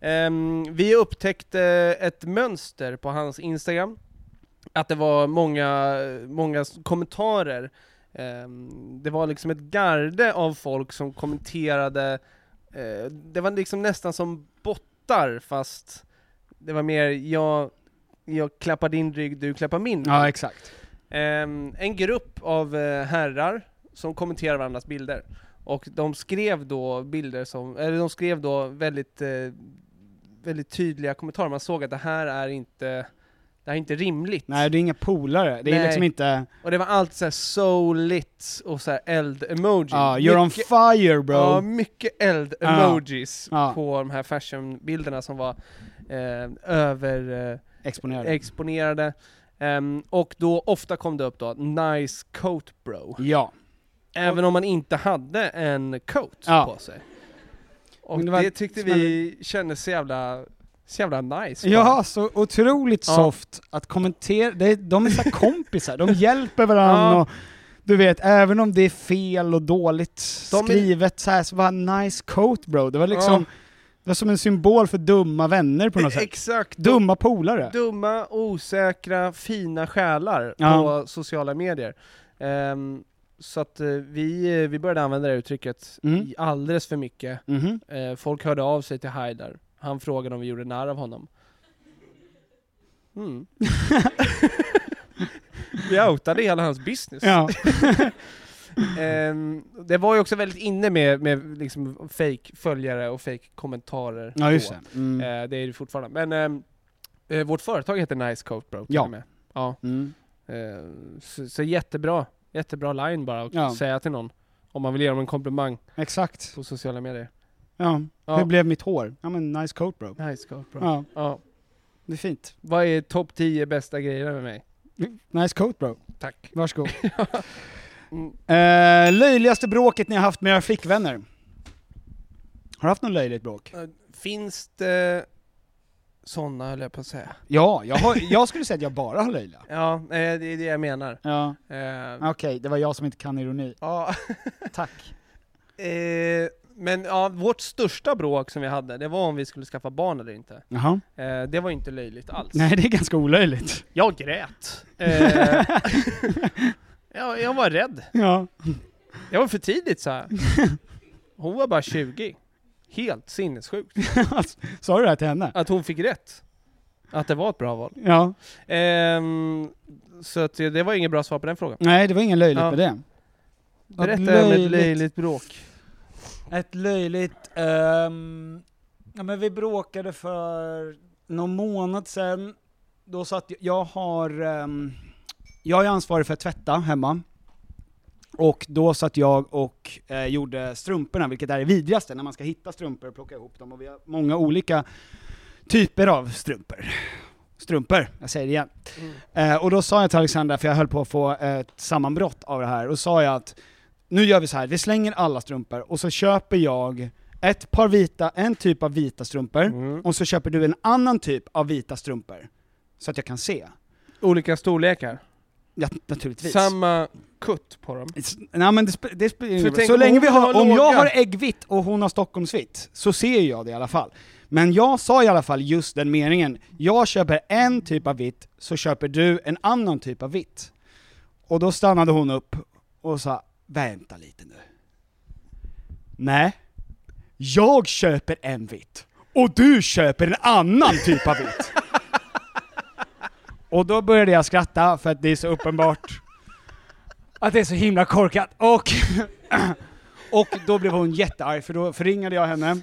[SPEAKER 2] Ehm, vi upptäckte eh, ett mönster på hans Instagram, att det var många, många s- kommentarer. Ehm, det var liksom ett garde av folk som kommenterade, eh, det var liksom nästan som bottar fast det var mer jag, jag klappar din rygg, du klappar min.
[SPEAKER 1] Ja, exakt.
[SPEAKER 2] Ehm, en grupp av eh, herrar som kommenterar varandras bilder. Och de skrev då bilder som, eller de skrev då väldigt, eh, väldigt tydliga kommentarer. Man såg att det här är inte, det här är inte rimligt.
[SPEAKER 1] Nej, det är inga polare. Det är
[SPEAKER 2] Nej.
[SPEAKER 1] liksom inte...
[SPEAKER 2] Och det var alltid såhär so lit och såhär eld-emoji.
[SPEAKER 1] Ja, you're on
[SPEAKER 2] Mycket-
[SPEAKER 1] fire bro!
[SPEAKER 2] Ja, mycket eld-emojis
[SPEAKER 1] Ja.
[SPEAKER 2] på de här fashionbilderna som var eh, över... Eh,
[SPEAKER 1] Exponerad.
[SPEAKER 2] exponerade. Ehm, och då ofta kom det upp då, nice coat bro.
[SPEAKER 1] ja.
[SPEAKER 2] Även om man inte hade en coat
[SPEAKER 1] Ja.
[SPEAKER 2] på sig. Och
[SPEAKER 1] Men det
[SPEAKER 2] det,
[SPEAKER 1] var-
[SPEAKER 2] tyckte vi kändes så jävla, så jävla nice.
[SPEAKER 1] Ja, så otroligt
[SPEAKER 2] Ja.
[SPEAKER 1] soft att kommentera, de, de är så här kompisar, de hjälper varandra
[SPEAKER 2] Ja.
[SPEAKER 1] och du vet, även om det är fel och dåligt
[SPEAKER 2] De är-
[SPEAKER 1] skrivet så här så var nice coat bro, det var liksom, det var som en symbol för dumma vänner på något sätt.
[SPEAKER 2] Exakt.
[SPEAKER 1] Dumma polare.
[SPEAKER 2] Dumma, osäkra, fina själar
[SPEAKER 1] Ja.
[SPEAKER 2] på sociala medier. Ehm, så att eh, vi, eh, vi började använda det här uttrycket
[SPEAKER 1] Mm.
[SPEAKER 2] i alldeles för mycket.
[SPEAKER 1] Mhm.
[SPEAKER 2] Eh, folk hörde av sig till Haidar. Han frågade om vi gjorde narr av honom. Mm. vi outade hela hans business.
[SPEAKER 1] Ja.
[SPEAKER 2] Ehm, det var ju också väldigt inne med, med liksom fake följare och fake kommentarer.
[SPEAKER 1] ja, just
[SPEAKER 2] då.
[SPEAKER 1] det. Mm.
[SPEAKER 2] Eh, det är det fortfarande. Men ehm, eh, vårt företag heter Nice Coat Bro till
[SPEAKER 1] Ja.
[SPEAKER 2] och med. Ja.
[SPEAKER 1] Mm.
[SPEAKER 2] Eh, så, så jättebra. Jättebra line bara att
[SPEAKER 1] Ja.
[SPEAKER 2] säga till någon. Om man vill ge dem en komplimang
[SPEAKER 1] Exakt.
[SPEAKER 2] på sociala medier.
[SPEAKER 1] Ja.
[SPEAKER 2] Ja.
[SPEAKER 1] Hur blev mitt hår? Ja men nice coat bro.
[SPEAKER 2] Nice Coat Bro.
[SPEAKER 1] Ja.
[SPEAKER 2] Ja.
[SPEAKER 1] det är fint.
[SPEAKER 2] Vad är topp 10 bästa grejerna med mig?
[SPEAKER 1] Nice coat bro.
[SPEAKER 2] Tack.
[SPEAKER 1] Varsågod.
[SPEAKER 2] Mm.
[SPEAKER 1] Eh, löjligaste bråket ni har haft med era flickvänner? Har du haft något löjligt bråk?
[SPEAKER 2] Eh, Finns det sådana höll jag på att säga.
[SPEAKER 1] Ja, jag, har, jag skulle säga att jag bara har löjliga.
[SPEAKER 2] Ja, eh, det är det jag menar.
[SPEAKER 1] Ja,
[SPEAKER 2] Eh,
[SPEAKER 1] okej, det var jag som inte kan ironi.
[SPEAKER 2] ja.
[SPEAKER 1] Tack.
[SPEAKER 2] Eh, men ja, vårt största bråk som vi hade, det var om vi skulle skaffa barn eller inte.
[SPEAKER 1] Jaha.
[SPEAKER 2] Eh, det var ju inte löjligt alls.
[SPEAKER 1] Nej, det är ganska olöjligt.
[SPEAKER 2] Jag grät. Eh, jag, jag var rädd.
[SPEAKER 1] Ja.
[SPEAKER 2] Jag var för tidigt så här. Hon var bara 20. Helt sinnessjukt.
[SPEAKER 1] Sa du det här till henne?
[SPEAKER 2] Att hon fick rätt. Att det var ett bra val.
[SPEAKER 1] Ja.
[SPEAKER 2] Ehm, så att det det var inget bra svar på den frågan.
[SPEAKER 1] Nej, det var ingen löjligt
[SPEAKER 2] Ja.
[SPEAKER 1] med det. Vad
[SPEAKER 2] Berätta om ett
[SPEAKER 1] löjligt.
[SPEAKER 2] löjligt bråk.
[SPEAKER 1] Ett löjligt... ehm, ja, men vi bråkade för någon månad sedan. Då satt jag, jag har... ehm, jag är ansvarig för att tvätta hemma. Och då satt jag och eh, gjorde strumporna, vilket är det vidrigaste, när man ska hitta strumpor och plocka ihop dem. Och vi har många olika typer av strumpor. Strumpor, jag säger det igen. Eh, och då sa jag till Alexandra, för jag höll på att få eh, ett sammanbrott av det här, och sa jag att nu gör vi så här, vi slänger alla strumpor och så köper jag ett par vita, en typ av vita strumpor,
[SPEAKER 2] Mm.
[SPEAKER 1] och så köper du en annan typ av vita strumpor. Så att jag kan se.
[SPEAKER 2] Olika storlekar.
[SPEAKER 1] Ja, naturligtvis.
[SPEAKER 2] Samma kutt på dem.
[SPEAKER 1] S- Nej men det, sp- det sp-
[SPEAKER 2] För tänk
[SPEAKER 1] så
[SPEAKER 2] om
[SPEAKER 1] länge
[SPEAKER 2] hon
[SPEAKER 1] vi har,
[SPEAKER 2] har
[SPEAKER 1] om jag
[SPEAKER 2] låga-
[SPEAKER 1] har äggvitt och hon har stockholmsvitt, så ser ju jag det i alla fall. Men jag sa i alla fall just den meningen, jag köper en typ av vitt, så köper du en annan typ av vitt. Och då stannade hon upp och sa, vänta lite nu. Nej, jag köper en vitt, och du köper en annan typ av vitt. Och då började jag skratta för att det är så uppenbart att det är så himla korkat. Och, och då blev hon jättearg för då förringade jag henne.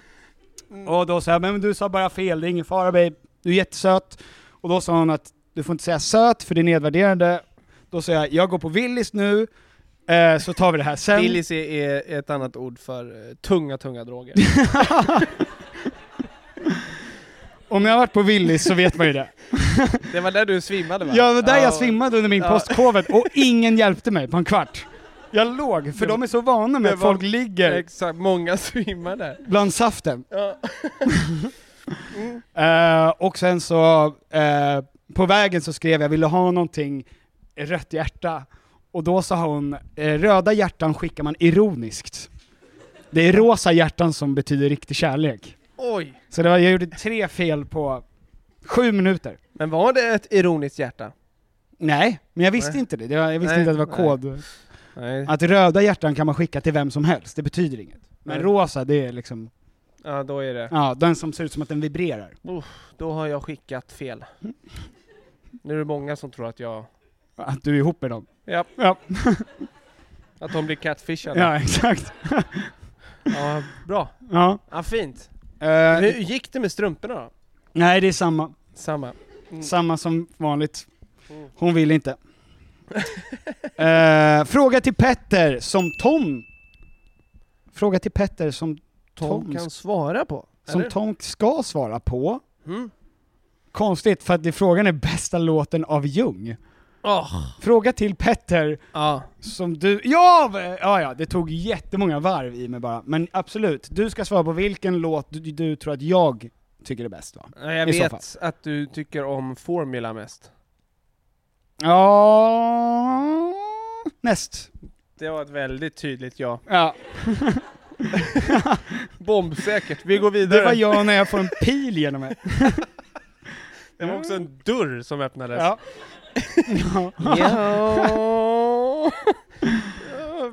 [SPEAKER 1] Och då sa jag, men du sa bara fel, det är ingen fara babe, du är jättesöt. Och då sa hon att du får inte säga söt för det är nedvärderande. Då sa jag, jag går på Willys nu, eh, så tar vi det här sen.
[SPEAKER 2] Willis är, är ett annat ord för eh, tunga, tunga droger.
[SPEAKER 1] Om jag har varit på Willys så vet man ju det.
[SPEAKER 2] Det var där du svimmade va?
[SPEAKER 1] Ja, det var där
[SPEAKER 2] Ja.
[SPEAKER 1] jag svimmade under min
[SPEAKER 2] Ja.
[SPEAKER 1] postcovid och ingen hjälpte mig på en kvart. Jag låg, för
[SPEAKER 2] Det-
[SPEAKER 1] de är så vana med
[SPEAKER 2] det
[SPEAKER 1] att
[SPEAKER 2] var-
[SPEAKER 1] folk ligger
[SPEAKER 2] Exakt, många svimmar där.
[SPEAKER 1] bland saften.
[SPEAKER 2] Ja.
[SPEAKER 1] Eh, och sen så, eh, på vägen så skrev jag, ville ha någonting rött hjärta. Och då sa hon, eh, röda hjärtan skickar man ironiskt. Det är rosa hjärtan som betyder riktig kärlek.
[SPEAKER 2] Oj!
[SPEAKER 1] Så det var, jag gjorde tre fel på sju minuter.
[SPEAKER 2] Men var det ett ironiskt hjärta?
[SPEAKER 1] Nej, men jag visste
[SPEAKER 2] Nej.
[SPEAKER 1] inte det. det var, jag visste
[SPEAKER 2] Nej,
[SPEAKER 1] inte att det var
[SPEAKER 2] nej.
[SPEAKER 1] kod.
[SPEAKER 2] Nej.
[SPEAKER 1] Att röda hjärtan kan man skicka till vem som helst, det betyder inget. Men
[SPEAKER 2] Nej.
[SPEAKER 1] rosa, det är liksom,
[SPEAKER 2] Ja, då är det.
[SPEAKER 1] ja, den som ser ut som att den vibrerar.
[SPEAKER 2] Då har jag skickat fel. Nu är det många som tror att jag...
[SPEAKER 1] Att du är ihop med dem.
[SPEAKER 2] Ja.
[SPEAKER 1] Ja.
[SPEAKER 2] Att de blir catfishade. Ja.
[SPEAKER 1] Ja, exakt.
[SPEAKER 2] bra.
[SPEAKER 1] Ja.
[SPEAKER 2] Ja, fint.
[SPEAKER 1] Eh,
[SPEAKER 2] Hur gick det med strumporna då?
[SPEAKER 1] nej, det är samma.
[SPEAKER 2] Samma. Mm.
[SPEAKER 1] Samma som vanligt.
[SPEAKER 2] Mm.
[SPEAKER 1] Hon vill inte. Eh, fråga till Petter som Tom... Fråga till Petter som,
[SPEAKER 2] Tom,
[SPEAKER 1] Tom
[SPEAKER 2] kan svara på.
[SPEAKER 1] som
[SPEAKER 2] eller?
[SPEAKER 1] Tom ska svara på.
[SPEAKER 2] Mm.
[SPEAKER 1] Konstigt, för att det, frågan är bästa låten av Ljung.
[SPEAKER 2] Åh.
[SPEAKER 1] Fråga till Petter
[SPEAKER 2] Ja.
[SPEAKER 1] som du... Ja! v- Ja, ja, det tog jättemånga varv i mig bara. Men absolut, du ska svara på vilken låt du, du tror att jag tycker är bäst va?
[SPEAKER 2] Jag
[SPEAKER 1] I så
[SPEAKER 2] vet att du tycker om Formula mest.
[SPEAKER 1] Ja... Näst.
[SPEAKER 2] Det var ett väldigt tydligt ja.
[SPEAKER 1] Ja.
[SPEAKER 2] Bombsäkert. Vi går vidare.
[SPEAKER 1] Det var jag när jag får en pil genom mig.
[SPEAKER 2] Det var också en dörr som öppnades.
[SPEAKER 1] Ja. ja.
[SPEAKER 2] Ja.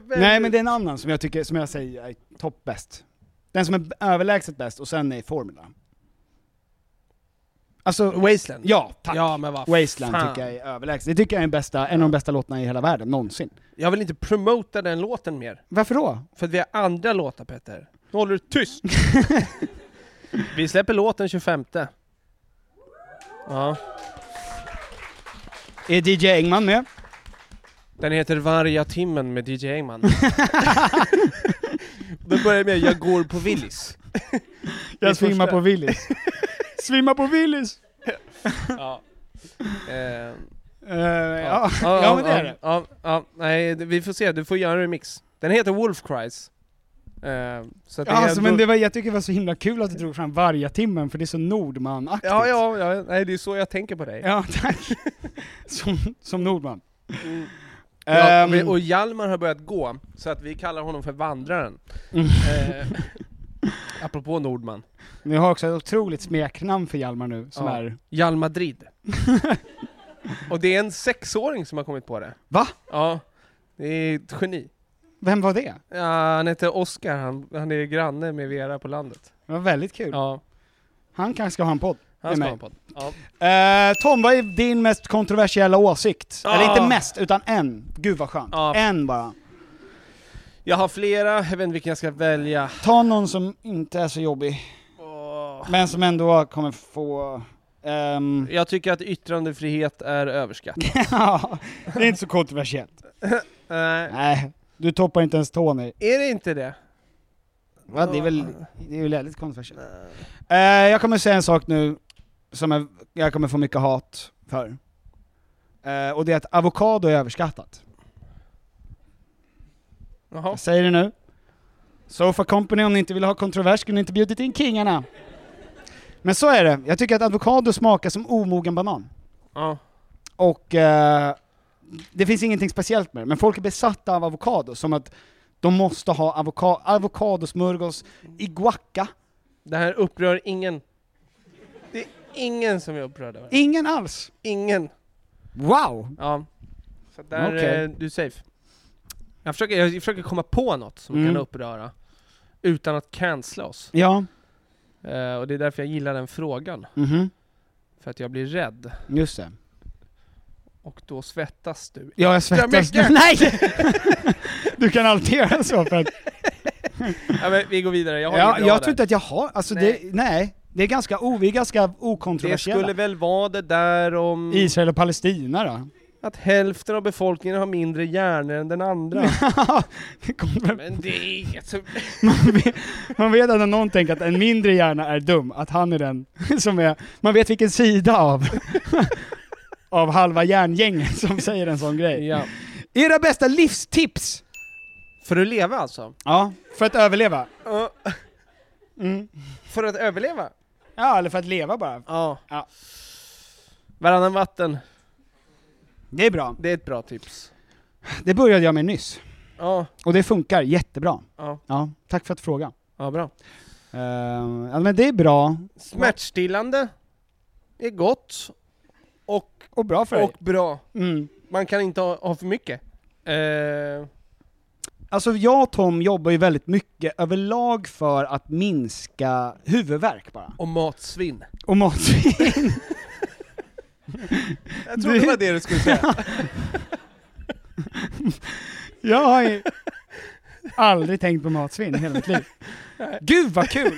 [SPEAKER 1] Nej men det är en annan som jag tycker, som jag säger är topp bäst. Den som är b- överlägset bäst och sen är Formula. Alltså,
[SPEAKER 2] Wasteland.
[SPEAKER 1] ja tack.
[SPEAKER 2] Ja, men vad
[SPEAKER 1] Wasteland
[SPEAKER 2] fan.
[SPEAKER 1] tycker jag är överlägset. Det tycker jag är den bästa, en av de bästa låtarna i hela världen, någonsin.
[SPEAKER 2] Jag vill inte promota den låten mer.
[SPEAKER 1] Varför då?
[SPEAKER 2] För att vi har andra låtar Petter. Nu håller du tyst! vi släpper låten 25. Ja.
[SPEAKER 1] Är DJ Engman med?
[SPEAKER 2] Den heter Varga timmen med DJ Engman. Då börjar jag med Jag går på Willys.
[SPEAKER 1] Jag
[SPEAKER 2] Min
[SPEAKER 1] svimmar
[SPEAKER 2] första.
[SPEAKER 1] på Willys. svimmar på Willys!
[SPEAKER 2] ja. Eh,
[SPEAKER 1] Eh, ja. ja, men det är det.
[SPEAKER 2] Ja, ja, nej, det- vi får se. Du får göra en remix. Den heter Wolf Cries. Eh, så att det
[SPEAKER 1] Ja,
[SPEAKER 2] är
[SPEAKER 1] alltså, men
[SPEAKER 2] då-
[SPEAKER 1] det var, jag tycker det var så himla kul att du drog fram vargatimmen, för det är så Nordman-aktigt.
[SPEAKER 2] Ja, ja, ja, nej, det är så jag tänker på dig.
[SPEAKER 1] Ja, tack. Som, som Nordman.
[SPEAKER 2] Mm. Ja,
[SPEAKER 1] Ehm,
[SPEAKER 2] och Hjalmar har börjat gå, så att vi kallar honom för Vandraren.
[SPEAKER 1] Mm.
[SPEAKER 2] Eh, apropå Nordman.
[SPEAKER 1] Vi har också ett otroligt smeknamn för Hjalmar nu, som
[SPEAKER 2] Ja.
[SPEAKER 1] är...
[SPEAKER 2] Hjalmadrid. och det är en sexåring som har kommit på det.
[SPEAKER 1] Va?
[SPEAKER 2] Ja, det är ett geni.
[SPEAKER 1] Vem var det?
[SPEAKER 2] Ja, han heter Oskar, han, han är granne med Vera på landet.
[SPEAKER 1] Det var väldigt kul.
[SPEAKER 2] Ja,
[SPEAKER 1] Han kanske ska ha en podd. Med
[SPEAKER 2] han ska
[SPEAKER 1] mig.
[SPEAKER 2] ha en podd. Ja.
[SPEAKER 1] Eh, Tom, vad är din mest kontroversiella åsikt?
[SPEAKER 2] Ah.
[SPEAKER 1] Eller inte mest, utan en. Gud vad skönt.
[SPEAKER 2] Ja.
[SPEAKER 1] En bara.
[SPEAKER 2] Jag har flera, jag vet inte vilken jag ska välja.
[SPEAKER 1] Ta någon som inte är så jobbig,
[SPEAKER 2] Åh.
[SPEAKER 1] men som ändå kommer få... ehm,
[SPEAKER 2] Jag tycker att yttrandefrihet är överskattat.
[SPEAKER 1] ja, det är inte så kontroversiellt.
[SPEAKER 2] Nej,
[SPEAKER 1] Nej, du toppar inte ens Tony.
[SPEAKER 2] Eh, är det inte det?
[SPEAKER 1] Va, det är väl det är väl väldigt kontroversiellt. Eh, jag kommer säga en sak nu som jag, jag kommer få mycket hat för. Eh, och det är att avokado är överskattat.
[SPEAKER 2] Jaha.
[SPEAKER 1] Jag säger det nu. Sofa Company, om ni inte vill ha kontrovers skulle ni inte bjudit in kingarna. Men så är det. Jag tycker att avokado smakar som omogen banan.
[SPEAKER 2] Ja.
[SPEAKER 1] Och eh, det finns ingenting speciellt med det, men folk är besatta av avokado. Som att de måste ha avoka- avokadosmörgås i guacca.
[SPEAKER 2] Det här upprör ingen. Det är ingen som är upprörd över det.
[SPEAKER 1] Ingen alls.
[SPEAKER 2] Ingen.
[SPEAKER 1] Wow!
[SPEAKER 2] Ja. Så där,
[SPEAKER 1] Okej.
[SPEAKER 2] eh, du är safe. Jag försöker, jag försöker komma på något som
[SPEAKER 1] Mm.
[SPEAKER 2] kan uppröra. Utan att cancella oss.
[SPEAKER 1] Ja,
[SPEAKER 2] Eh, och det är därför jag gillar den frågan.
[SPEAKER 1] mhm,
[SPEAKER 2] För att jag blir rädd.
[SPEAKER 1] just det.
[SPEAKER 2] Och då svettas du.
[SPEAKER 1] Ja, jag svettas.
[SPEAKER 2] mycket.
[SPEAKER 1] Nej! du kan alltid göra så för att...
[SPEAKER 2] Ja, men vi går vidare, jag har
[SPEAKER 1] Ja,
[SPEAKER 2] inget bra
[SPEAKER 1] jag tror
[SPEAKER 2] där.
[SPEAKER 1] inte att jag har, alltså nej. det, nej. Det är ganska, o, vi är ganska
[SPEAKER 2] Det
[SPEAKER 1] okontroversiella.
[SPEAKER 2] skulle väl vara det där om
[SPEAKER 1] Israel och Palestina då?
[SPEAKER 2] att hälften av befolkningen har mindre hjärnor än den andra.
[SPEAKER 1] Det kommer-
[SPEAKER 2] men det är inget som...
[SPEAKER 1] man, vet, man vet att när någon tänker att en mindre hjärna är dum, att han är den som är, man vet vilken sida av, av halva hjärngänget som säger en sån grej.
[SPEAKER 2] Ja.
[SPEAKER 1] Era bästa livstips!
[SPEAKER 2] För att leva alltså?
[SPEAKER 1] Ja, för att överleva.
[SPEAKER 2] Ja,
[SPEAKER 1] Mm.
[SPEAKER 2] för att överleva?
[SPEAKER 1] Ja, eller för att leva bara.
[SPEAKER 2] Ja.
[SPEAKER 1] Ja.
[SPEAKER 2] Varannan vatten,
[SPEAKER 1] Det är bra.
[SPEAKER 2] det är ett bra tips.
[SPEAKER 1] Det började jag med nyss.
[SPEAKER 2] Ja,
[SPEAKER 1] Och det funkar jättebra.
[SPEAKER 2] ja,
[SPEAKER 1] Ja, tack för att fråga.
[SPEAKER 2] ja bra.
[SPEAKER 1] Eh, ja, men det är bra,
[SPEAKER 2] Smärtstillande är gott och,
[SPEAKER 1] och bra för dig.
[SPEAKER 2] och bra.
[SPEAKER 1] Mm.
[SPEAKER 2] Man kan inte ha, ha för mycket. Eh,
[SPEAKER 1] Alltså jag och Tom jobbar ju väldigt mycket överlag för att minska huvudvärk bara.
[SPEAKER 2] och matsvinn.
[SPEAKER 1] Och matsvinn.
[SPEAKER 2] Jag trodde det var det du skulle säga.
[SPEAKER 1] jag har ju aldrig tänkt på matsvinn i hela mitt liv. Gud vad kul!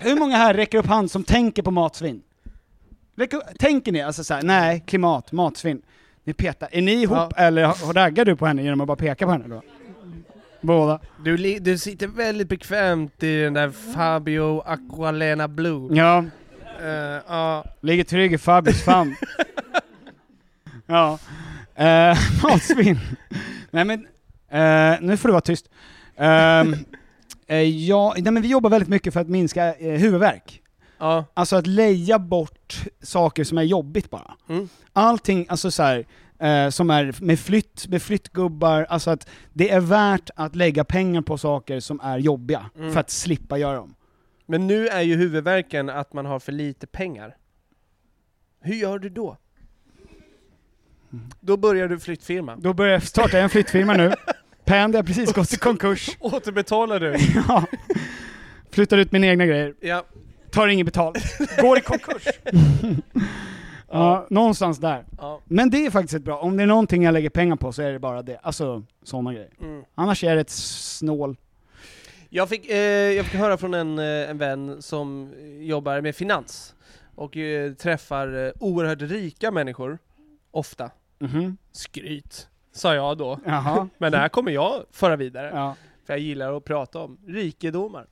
[SPEAKER 1] Hur många här räcker upp hand som tänker på matsvinn? Räcker upp- Tänker ni alltså såhär, nej, klimat, matsvinn. Ni petar. Är ni ihop
[SPEAKER 2] Ja.
[SPEAKER 1] eller har- raggar du på henne genom att bara peka på henne då? Båda.
[SPEAKER 2] Du, li- du sitter väldigt bekvämt i den där Fabio Aqualena Blue.
[SPEAKER 1] Ja,
[SPEAKER 2] Eh, ja.
[SPEAKER 1] Ligger trygg i Fabius famn. ja. Eh, matsvinn. nej men, eh, nu får du vara tyst. Ehm, eh, ja, nej men vi jobbar väldigt mycket för att minska eh, huvudvärk.
[SPEAKER 2] ja.
[SPEAKER 1] Alltså att leja bort saker som är jobbigt bara.
[SPEAKER 2] Mm.
[SPEAKER 1] Allting, alltså så här, eh, som är med flytt, med flyttgubbar, alltså att det är värt att lägga pengar på saker som är jobbiga
[SPEAKER 2] Mm.
[SPEAKER 1] för att slippa göra dem.
[SPEAKER 2] Men nu är ju huvudvärken att man har för lite pengar. Hur gör du då? Då börjar du flyttfirma.
[SPEAKER 1] Då börjar jag starta en flyttfirma nu. Pend har precis gått i konkurs.
[SPEAKER 2] Återbetalar du?
[SPEAKER 1] Ja. Flyttar ut mina egna grejer,
[SPEAKER 2] ja.
[SPEAKER 1] tar inget betalt, går i konkurs. ja, någonstans där.
[SPEAKER 2] ja.
[SPEAKER 1] Men det är faktiskt ett bra, om det är någonting jag lägger pengar på så är det bara det. Alltså sådana grejer.
[SPEAKER 2] Mm.
[SPEAKER 1] Annars är det ett snål.
[SPEAKER 2] Jag, fick, eh, jag fick höra från en, eh, en vän som jobbar med finans och eh, träffar eh, oerhört rika människor, ofta.
[SPEAKER 1] Mhm.
[SPEAKER 2] Skryt, sa jag då.
[SPEAKER 1] Jaha.
[SPEAKER 2] Men det här kommer jag föra vidare.
[SPEAKER 1] Ja.
[SPEAKER 2] För jag gillar att prata om rikedomar.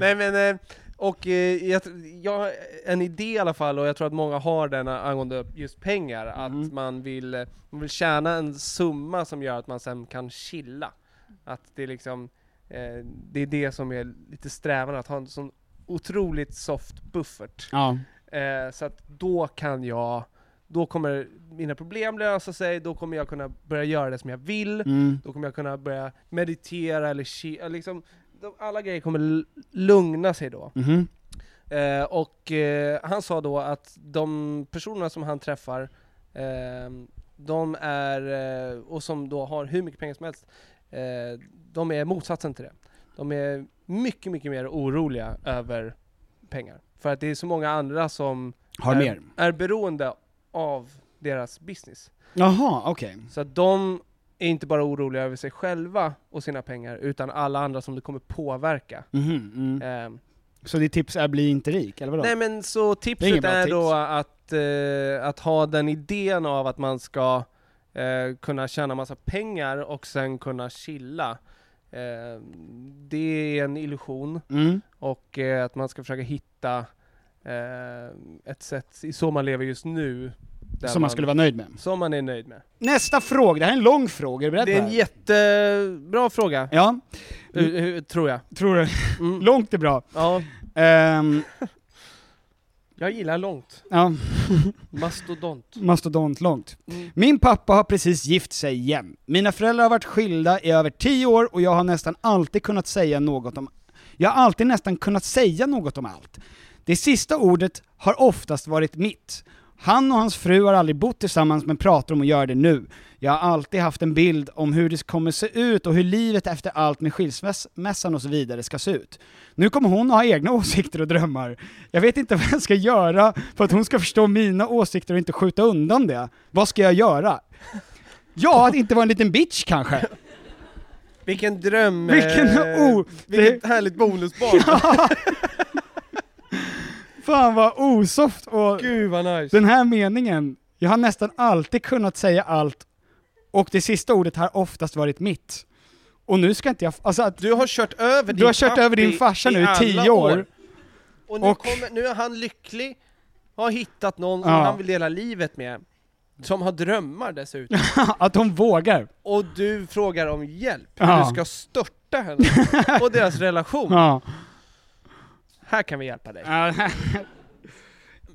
[SPEAKER 2] Nej men, eh, Och eh, jag, tr- jag har en idé i alla fall, och jag tror att många har den eh, angående just pengar, att
[SPEAKER 1] Mhm.
[SPEAKER 2] man vill, eh, man vill tjäna en summa som gör att man sen kan chilla. Att det är liksom, eh, det är det som är lite strävan, att ha en sån otroligt soft buffert.
[SPEAKER 1] Ja.
[SPEAKER 2] Eh, så att då kan jag, då kommer mina problem lösa sig, då kommer jag kunna börja göra det som jag vill,
[SPEAKER 1] Mm.
[SPEAKER 2] då kommer jag kunna börja meditera eller chi- liksom, de, alla grejer kommer l- lugna sig då.
[SPEAKER 1] Mhm.
[SPEAKER 2] Eh, och eh, han sa då att de personerna som han träffar, eh, de är, eh, och som då har hur mycket pengar som helst, eh, de är motsatsen till det. De är mycket, mycket mer oroliga över pengar. För att det är så många andra som
[SPEAKER 1] Har
[SPEAKER 2] är,
[SPEAKER 1] mer?
[SPEAKER 2] är beroende av deras business.
[SPEAKER 1] Jaha, okej.
[SPEAKER 2] Så att de är inte bara oroliga över sig själva och sina pengar, utan alla andra som det kommer påverka.
[SPEAKER 1] Mhm, mm.
[SPEAKER 2] Eh,
[SPEAKER 1] Så ditt tips är bli inte rik, eller vadå?
[SPEAKER 2] Nej men så
[SPEAKER 1] Det är inget
[SPEAKER 2] tipset
[SPEAKER 1] bra
[SPEAKER 2] är
[SPEAKER 1] tips.
[SPEAKER 2] då att, eh, att ha den idén av att man ska eh, kunna tjäna massa pengar och sen kunna chilla. Eh, det är en illusion
[SPEAKER 1] Mm.
[SPEAKER 2] och eh, att man ska försöka hitta eh, ett sätt i så man lever just nu. där
[SPEAKER 1] Som man skulle vara nöjd med.
[SPEAKER 2] som man är nöjd med.
[SPEAKER 1] Nästa fråga, det här är en lång fråga, är du beredd
[SPEAKER 2] Det är en
[SPEAKER 1] på
[SPEAKER 2] jättebra fråga,
[SPEAKER 1] Ja,
[SPEAKER 2] hu-
[SPEAKER 1] Mm.
[SPEAKER 2] hu- tror jag.
[SPEAKER 1] tror du.
[SPEAKER 2] Mm.
[SPEAKER 1] Långt är bra.
[SPEAKER 2] Ja,
[SPEAKER 1] Ehm,
[SPEAKER 2] jag gillar långt.
[SPEAKER 1] ja,
[SPEAKER 2] Mastodont.
[SPEAKER 1] mastodont långt.
[SPEAKER 2] Mm.
[SPEAKER 1] Min pappa har precis gift sig igen. Mina föräldrar har varit skilda i över tio år och jag har nästan alltid kunnat säga något om... Jag har alltid nästan kunnat säga något om allt. Det sista ordet har oftast varit mitt. Han och hans fru har aldrig bott tillsammans men pratar om att göra det nu. Jag har alltid haft en bild om hur det kommer se ut och hur livet efter allt med skilsmässan och så vidare ska se ut. Nu kommer hon att ha egna åsikter och drömmar. Jag vet inte vad jag ska göra för att hon ska förstå mina åsikter och inte skjuta undan det. Vad ska jag göra? Ja, att inte vara en liten bitch kanske.
[SPEAKER 2] Vilken dröm!
[SPEAKER 1] Vilken
[SPEAKER 2] eh,
[SPEAKER 1] o-
[SPEAKER 2] Vilket härligt bonusbarn!
[SPEAKER 1] Fan vad osoft och
[SPEAKER 2] Gud vad nice!
[SPEAKER 1] den här meningen. Jag har nästan alltid kunnat säga allt och det sista ordet har oftast varit mitt. Och nu ska inte jag, alltså att
[SPEAKER 2] Du har kört över din
[SPEAKER 1] du har kört
[SPEAKER 2] pappi
[SPEAKER 1] över din farsa nu i
[SPEAKER 2] alla
[SPEAKER 1] tio år.
[SPEAKER 2] Och, nu,
[SPEAKER 1] Och-
[SPEAKER 2] Kommer, nu är han lycklig, har hittat någon som
[SPEAKER 1] Ja.
[SPEAKER 2] han vill dela livet med, som har drömmar dessutom.
[SPEAKER 1] Att hon vågar.
[SPEAKER 2] Och du frågar om hjälp, hur
[SPEAKER 1] Ja.
[SPEAKER 2] du ska störta henne och deras relation.
[SPEAKER 1] Ja.
[SPEAKER 2] Här kan vi hjälpa dig.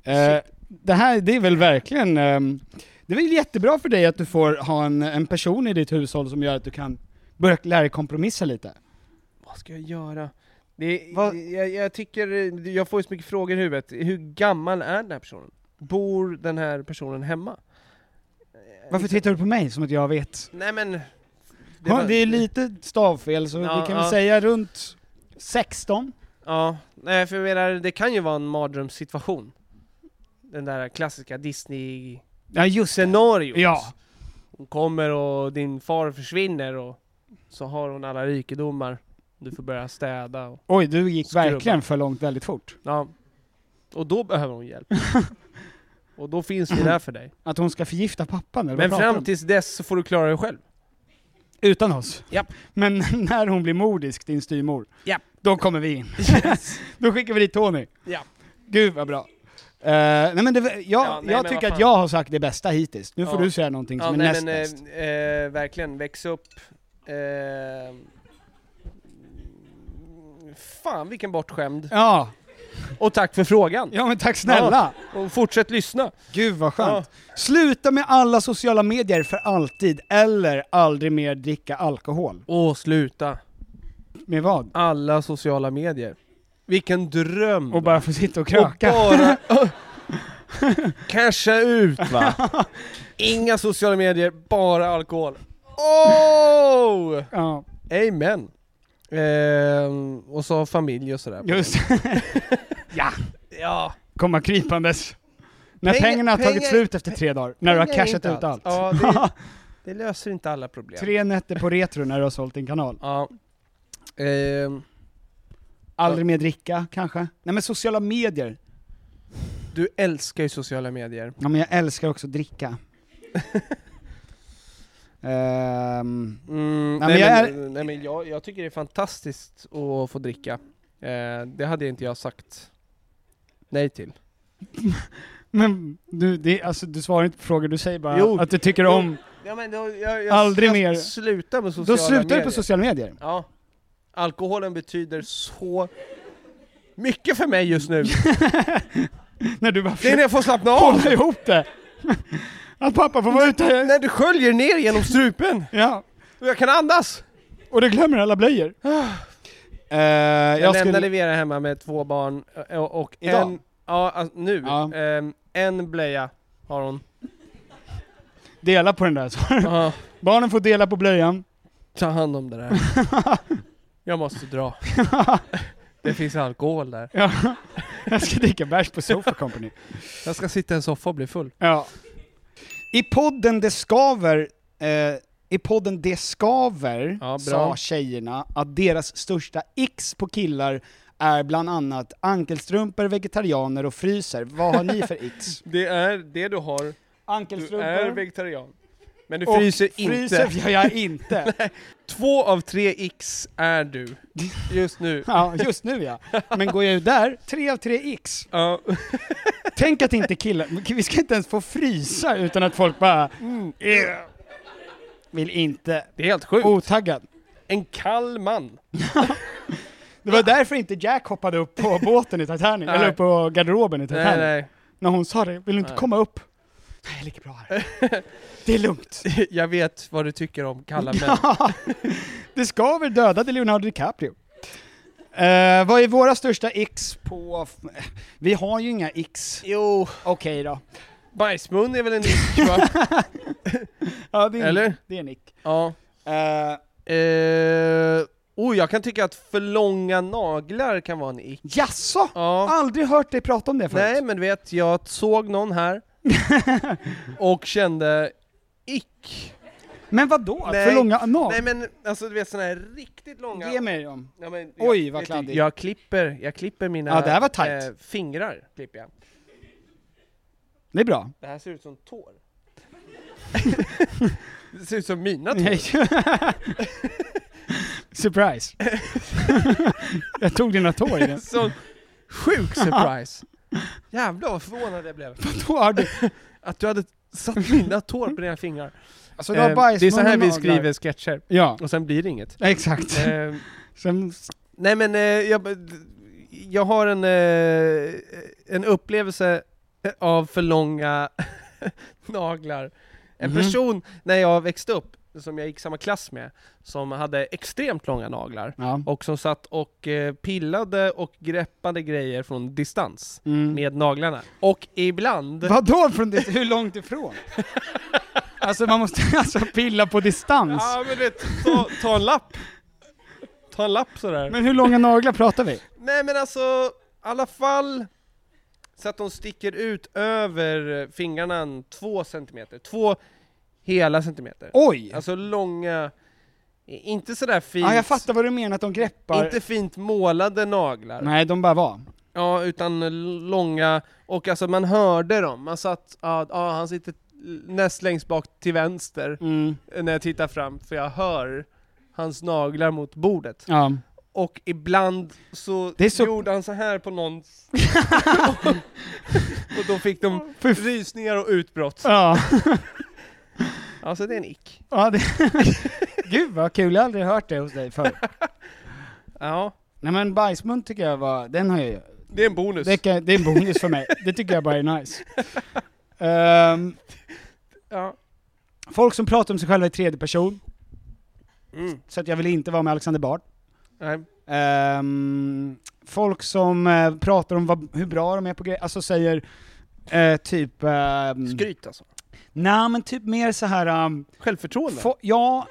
[SPEAKER 1] Eh, det här, det är väl verkligen, ehm, det är väl jättebra för dig att du får ha en, en person i ditt hushåll som gör att du kan börja lära dig kompromissa lite.
[SPEAKER 2] Vad ska jag göra? Det,
[SPEAKER 1] Vad-
[SPEAKER 2] jag, jag tycker, jag får ju så mycket frågor i huvudet. Hur gammal är den här personen? Bor den här personen hemma?
[SPEAKER 1] Varför tittar du på mig som att jag vet?
[SPEAKER 2] Nej men...
[SPEAKER 1] Det,
[SPEAKER 2] Det, var-
[SPEAKER 1] det är lite stavfel, så
[SPEAKER 2] Ja,
[SPEAKER 1] vi kan
[SPEAKER 2] ja.
[SPEAKER 1] väl säga runt 16?
[SPEAKER 2] Ja, nej för jag menar, det kan ju vara en mardrömssituation. Den där klassiska Disney-scenariot.
[SPEAKER 1] Ja just det. Ja.
[SPEAKER 2] Hon kommer och din far försvinner och så har hon alla rikedomar. Du får börja städa och...
[SPEAKER 1] Oj, du gick
[SPEAKER 2] Skrubba.
[SPEAKER 1] verkligen för långt väldigt fort.
[SPEAKER 2] Ja. Och då behöver hon hjälp. och då finns vi där för dig.
[SPEAKER 1] Att hon ska förgifta pappan eller
[SPEAKER 2] Men
[SPEAKER 1] vad pratar du
[SPEAKER 2] fram
[SPEAKER 1] om?
[SPEAKER 2] tills dess så får du klara dig själv.
[SPEAKER 1] Utan oss?
[SPEAKER 2] Japp.
[SPEAKER 1] Men när hon blir mordisk, din styvmor,
[SPEAKER 2] Japp.
[SPEAKER 1] då kommer vi in. Då skickar vi dit Tony.
[SPEAKER 2] Ja.
[SPEAKER 1] Gud vad bra. Eh, nej men det, jag
[SPEAKER 2] Ja, nej,
[SPEAKER 1] jag
[SPEAKER 2] men vad
[SPEAKER 1] tycker att
[SPEAKER 2] fan.
[SPEAKER 1] jag har sagt det bästa hittills. Nu får
[SPEAKER 2] Ja.
[SPEAKER 1] du säga någonting
[SPEAKER 2] Ja,
[SPEAKER 1] som är
[SPEAKER 2] nej,
[SPEAKER 1] näst
[SPEAKER 2] men,
[SPEAKER 1] bäst.
[SPEAKER 2] eh, eh, verkligen, väx upp. Eh, fan vilken bortskämd.
[SPEAKER 1] Ja.
[SPEAKER 2] Och tack för frågan.
[SPEAKER 1] ja, men tack snälla.
[SPEAKER 2] Och fortsätt lyssna.
[SPEAKER 1] Gud vad skönt. Sluta med alla sociala medier för alltid, eller aldrig mer dricka alkohol.
[SPEAKER 2] Åh, sluta.
[SPEAKER 1] Med vad?
[SPEAKER 2] Alla sociala medier. Vilken dröm!
[SPEAKER 1] Och bara få sitta och
[SPEAKER 2] Och
[SPEAKER 1] kröka.
[SPEAKER 2] bara- Casha ut va! Inga sociala medier, bara alkohol. Oh!
[SPEAKER 1] Ja,
[SPEAKER 2] Amen! Ehm, och så familj och sådär.
[SPEAKER 1] just
[SPEAKER 2] Ja.
[SPEAKER 1] Komma krypandes. När
[SPEAKER 2] Pengar-
[SPEAKER 1] pengarna har tagit
[SPEAKER 2] pengar-
[SPEAKER 1] slut efter tre dagar. När du har
[SPEAKER 2] Pengar är
[SPEAKER 1] cashat
[SPEAKER 2] inte
[SPEAKER 1] ut allt.
[SPEAKER 2] Ja, det, det löser inte alla problem.
[SPEAKER 1] Tre nätter på retro när du har sålt din kanal.
[SPEAKER 2] Ja. Ehm,
[SPEAKER 1] Aldrig mer dricka kanske? Nej men sociala medier.
[SPEAKER 2] du älskar ju sociala medier.
[SPEAKER 1] Ja men jag älskar också att dricka. Ehm,
[SPEAKER 2] Mm,
[SPEAKER 1] Nej,
[SPEAKER 2] nej,
[SPEAKER 1] men jag Ehm.
[SPEAKER 2] Mm, men, nej men jag, jag tycker det är fantastiskt att få dricka. Eh, det hade inte jag sagt nej till.
[SPEAKER 1] Men du, det, alltså, du svarar inte på frågor, du säger bara
[SPEAKER 2] Jo.
[SPEAKER 1] att du tycker
[SPEAKER 2] Jo.
[SPEAKER 1] om...
[SPEAKER 2] Ja, men då, jag,
[SPEAKER 1] Aldrig
[SPEAKER 2] jag
[SPEAKER 1] mer.
[SPEAKER 2] Sluta med sociala
[SPEAKER 1] Då slutar du
[SPEAKER 2] medier.
[SPEAKER 1] på sociala medier.
[SPEAKER 2] Ja. Alkoholen betyder så mycket för mig just nu.
[SPEAKER 1] När du bara
[SPEAKER 2] Det är när
[SPEAKER 1] försöker
[SPEAKER 2] jag får slappna av.
[SPEAKER 1] hålla ihop det. Att pappa får vara ute.
[SPEAKER 2] När du sköljer ner genom strupen
[SPEAKER 1] Ja.
[SPEAKER 2] och jag kan andas.
[SPEAKER 1] Och du glömmer alla blöjor. Eh, jag
[SPEAKER 2] Jag,
[SPEAKER 1] skulle-
[SPEAKER 2] lämnade Vera hemma med två barn eh, och, och
[SPEAKER 1] Idag?
[SPEAKER 2] en... Ja, alltså, nu.
[SPEAKER 1] Ja.
[SPEAKER 2] Ehm, en blöja har hon.
[SPEAKER 1] Dela på den där. Så.
[SPEAKER 2] Ja,
[SPEAKER 1] Barnen får dela på blöjan.
[SPEAKER 2] ta hand om det där. Jag måste dra. Det finns alkohol där.
[SPEAKER 1] Ja. Jag ska dricka bärs på Sofa Company.
[SPEAKER 2] Jag ska sitta i en soffa och bli full.
[SPEAKER 1] Ja. I podden Det Skaver, eh, i podden Det Skaver
[SPEAKER 2] Ja, bra.
[SPEAKER 1] sa tjejerna att deras största x på killar är bland annat ankelstrumpor, vegetarianer och fryser. Vad har ni för x?
[SPEAKER 2] Det är det du har. Du är
[SPEAKER 1] Ankelstrumpor?
[SPEAKER 2] vegetarian. Men du
[SPEAKER 1] och
[SPEAKER 2] fryser inte.
[SPEAKER 1] Fryser gör jag inte.
[SPEAKER 2] Två av tre x är du. Just nu.
[SPEAKER 1] Ja, just nu ja. Men går jag ut där, tre av tre x.
[SPEAKER 2] Ja.
[SPEAKER 1] Tänk att inte killar, men vi ska inte ens få frysa utan att folk bara
[SPEAKER 2] Mm.
[SPEAKER 1] "Eh." vill inte.
[SPEAKER 2] Det är helt sjukt.
[SPEAKER 1] Otaggad.
[SPEAKER 2] En kall man.
[SPEAKER 1] Det var därför inte Jack hoppade upp på båten i Titanic,
[SPEAKER 2] Nej.
[SPEAKER 1] eller upp på garderoben i Titanic.
[SPEAKER 2] Nej, nej.
[SPEAKER 1] När hon sa det, vill du inte
[SPEAKER 2] Nej.
[SPEAKER 1] komma upp? Nej, jag ligger bra här. Det är lugnt.
[SPEAKER 2] Jag vet vad du tycker om kalla män.
[SPEAKER 1] det ska väl dödade Leonardo DiCaprio. Eh, vad är våra största x på... Vi har ju inga x.
[SPEAKER 2] Jo.
[SPEAKER 1] Okej då.
[SPEAKER 2] Bajsmun är väl en nick va?
[SPEAKER 1] Ja, det är,
[SPEAKER 2] Eller?
[SPEAKER 1] Det är en ick.
[SPEAKER 2] Ja.
[SPEAKER 1] Eh,
[SPEAKER 2] Eh, oh, jag kan tycka att för långa naglar kan vara en ick.
[SPEAKER 1] jaså?
[SPEAKER 2] Ja.
[SPEAKER 1] Aldrig hört dig prata om det förut.
[SPEAKER 2] Nej, men du vet, jag såg någon här och kände ick.
[SPEAKER 1] Men vadå?
[SPEAKER 2] Nej.
[SPEAKER 1] För långa anal?
[SPEAKER 2] Nej men alltså du vet sådana här riktigt långa...
[SPEAKER 1] Ge mig dem.
[SPEAKER 2] Ja, men,
[SPEAKER 1] Oj, vad
[SPEAKER 2] vet du,
[SPEAKER 1] kladdigt.
[SPEAKER 2] Jag klipper, jag klipper mina
[SPEAKER 1] Ja, det här var tajt.
[SPEAKER 2] eh, fingrar. Klipper jag.
[SPEAKER 1] Det är bra.
[SPEAKER 2] Det här ser ut som tår. det ser ut som mina tår.
[SPEAKER 1] Nej. Surprise. jag tog dina tår i den.
[SPEAKER 2] Så sjuk surprise. Jävlar vad förvånad jag blev.
[SPEAKER 1] Då har du,
[SPEAKER 2] Att du hade satt mina tår på dina fingrar. Eh,
[SPEAKER 1] alltså du har bajs
[SPEAKER 2] det är så
[SPEAKER 1] mellan
[SPEAKER 2] här vi
[SPEAKER 1] naglar.
[SPEAKER 2] skriver sketcher.
[SPEAKER 1] Ja,
[SPEAKER 2] Och sen blir det inget.
[SPEAKER 1] exakt.
[SPEAKER 2] Eh,
[SPEAKER 1] Sen,
[SPEAKER 2] nej men eh, jag, jag har en, eh, en upplevelse av för långa naglar. En
[SPEAKER 1] Mhm.
[SPEAKER 2] person, när jag växte upp, som jag gick samma klass med, som hade extremt långa naglar.
[SPEAKER 1] ja.
[SPEAKER 2] och som satt och eh, pillade och greppade grejer från distans
[SPEAKER 1] Mm.
[SPEAKER 2] med naglarna. Och ibland...
[SPEAKER 1] Vadå från det? Hur långt ifrån? alltså man måste alltså pilla på distans.
[SPEAKER 2] Ja men du vet, ta, ta en lapp. Ta en lapp sådär.
[SPEAKER 1] Men hur långa naglar pratar vi?
[SPEAKER 2] Nej men alltså, i alla fall så att de sticker ut över eh, fingrarna en två centimeter. Två hela centimeter.
[SPEAKER 1] Oj!
[SPEAKER 2] Alltså långa, eh, inte sådär fint,
[SPEAKER 1] Ja, jag fattar vad du menar att de greppar.
[SPEAKER 2] inte fint målade naglar.
[SPEAKER 1] Nej, de bara var.
[SPEAKER 2] Ja, utan långa, och alltså man hörde dem. Man satt, ja, ja, han sitter näst längst bak till vänster
[SPEAKER 1] Mm.
[SPEAKER 2] när jag tittar fram, för jag hör hans naglar mot bordet.
[SPEAKER 1] Ja.
[SPEAKER 2] Och ibland så,
[SPEAKER 1] Det är så-
[SPEAKER 2] gjorde han så här på någon och då fick de
[SPEAKER 1] Fy
[SPEAKER 2] rysningar och utbrott.
[SPEAKER 1] Ja.
[SPEAKER 2] Alltså det är en ick.
[SPEAKER 1] ja det... Gud vad kul, jag har aldrig hört det hos dig förr.
[SPEAKER 2] Ja,
[SPEAKER 1] Nej men bajsmun tycker jag var, den har jag ju.
[SPEAKER 2] det är en bonus.
[SPEAKER 1] Det, kan, det är en bonus för mig, det tycker jag bara är nice. Ehm,
[SPEAKER 2] Ja.
[SPEAKER 1] folk som pratar om sig själva i tredje person,
[SPEAKER 2] Mm.
[SPEAKER 1] så att jag vill inte vara med Alexander Bard.
[SPEAKER 2] Nej.
[SPEAKER 1] Ehm, folk som eh, pratar om vad, hur bra de är på grejer, alltså säger eh, typ... Um,
[SPEAKER 2] Skryt alltså.
[SPEAKER 1] Nej men typ mer så här... ehm,
[SPEAKER 2] Självförtroende.
[SPEAKER 1] Få, ja,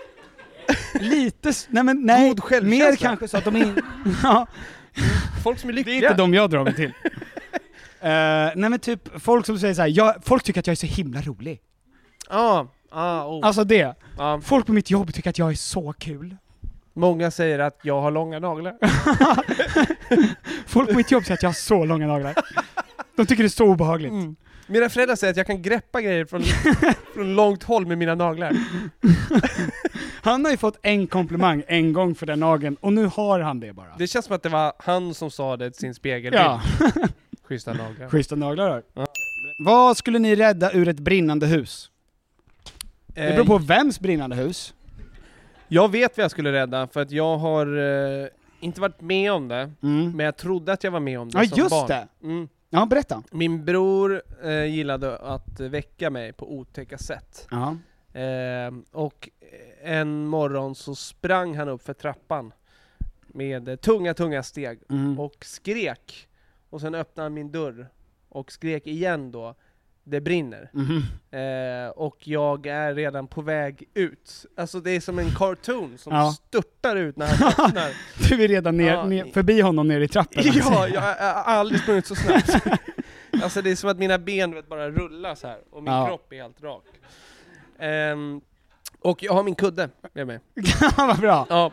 [SPEAKER 1] lite, s- nej men nej,
[SPEAKER 2] God självkänsla.
[SPEAKER 1] mer kanske så att de in, ja,
[SPEAKER 2] Folk som är
[SPEAKER 1] Det
[SPEAKER 2] lyckliga.
[SPEAKER 1] är inte de jag drar mig till. Eh, nej men typ folk som säger så här, jag, folk tycker att jag är så himla rolig.
[SPEAKER 2] Ja, ja, oh.
[SPEAKER 1] Alltså det.
[SPEAKER 2] ja.
[SPEAKER 1] Folk på mitt jobb tycker att jag är så kul.
[SPEAKER 2] Många säger att jag har långa naglar.
[SPEAKER 1] Folk på mitt jobb säger att jag har så långa naglar. De tycker det är så obehagligt.
[SPEAKER 2] Mina föräldrar säger att jag kan greppa grejer från, från långt håll med mina naglar.
[SPEAKER 1] Han har ju fått en komplimang en gång för den nageln, och nu har han det bara.
[SPEAKER 2] Det känns som att det var han som sa det till sin spegelbild.
[SPEAKER 1] ja,
[SPEAKER 2] Schyssta naglar.
[SPEAKER 1] schyssta naglar då.
[SPEAKER 2] Ja.
[SPEAKER 1] Vad skulle ni rädda ur ett brinnande hus? Det beror på vems brinnande hus.
[SPEAKER 2] Eh, Jag vet vad jag skulle rädda, för att jag har eh, inte varit med om det,
[SPEAKER 1] Mm.
[SPEAKER 2] men jag trodde att jag var med om det
[SPEAKER 1] Ja
[SPEAKER 2] som barn.
[SPEAKER 1] just det!
[SPEAKER 2] Mm.
[SPEAKER 1] Ja, berätta.
[SPEAKER 2] Min bror eh, gillade att väcka mig på otäcka sätt.
[SPEAKER 1] Ja.
[SPEAKER 2] Eh, och en morgon så sprang han upp för trappan med eh, tunga, tunga steg
[SPEAKER 1] Mm.
[SPEAKER 2] och skrek. Och sen öppnade han min dörr och skrek igen då, det brinner.
[SPEAKER 1] Mhm.
[SPEAKER 2] Eh, och jag är redan på väg ut. Alltså det är som en cartoon som
[SPEAKER 1] Ja.
[SPEAKER 2] störtar ut när han öppnar.
[SPEAKER 1] Du är redan ner,
[SPEAKER 2] Ja,
[SPEAKER 1] ner,
[SPEAKER 2] i-
[SPEAKER 1] förbi honom nere i trappan.
[SPEAKER 2] ja, jag har aldrig sprungit så snabbt. alltså det är som att mina ben vet, bara rullar så här och min
[SPEAKER 1] Ja.
[SPEAKER 2] kropp är helt rak. Ehm, och jag har min kudde med mig.
[SPEAKER 1] Vad bra!
[SPEAKER 2] Ja,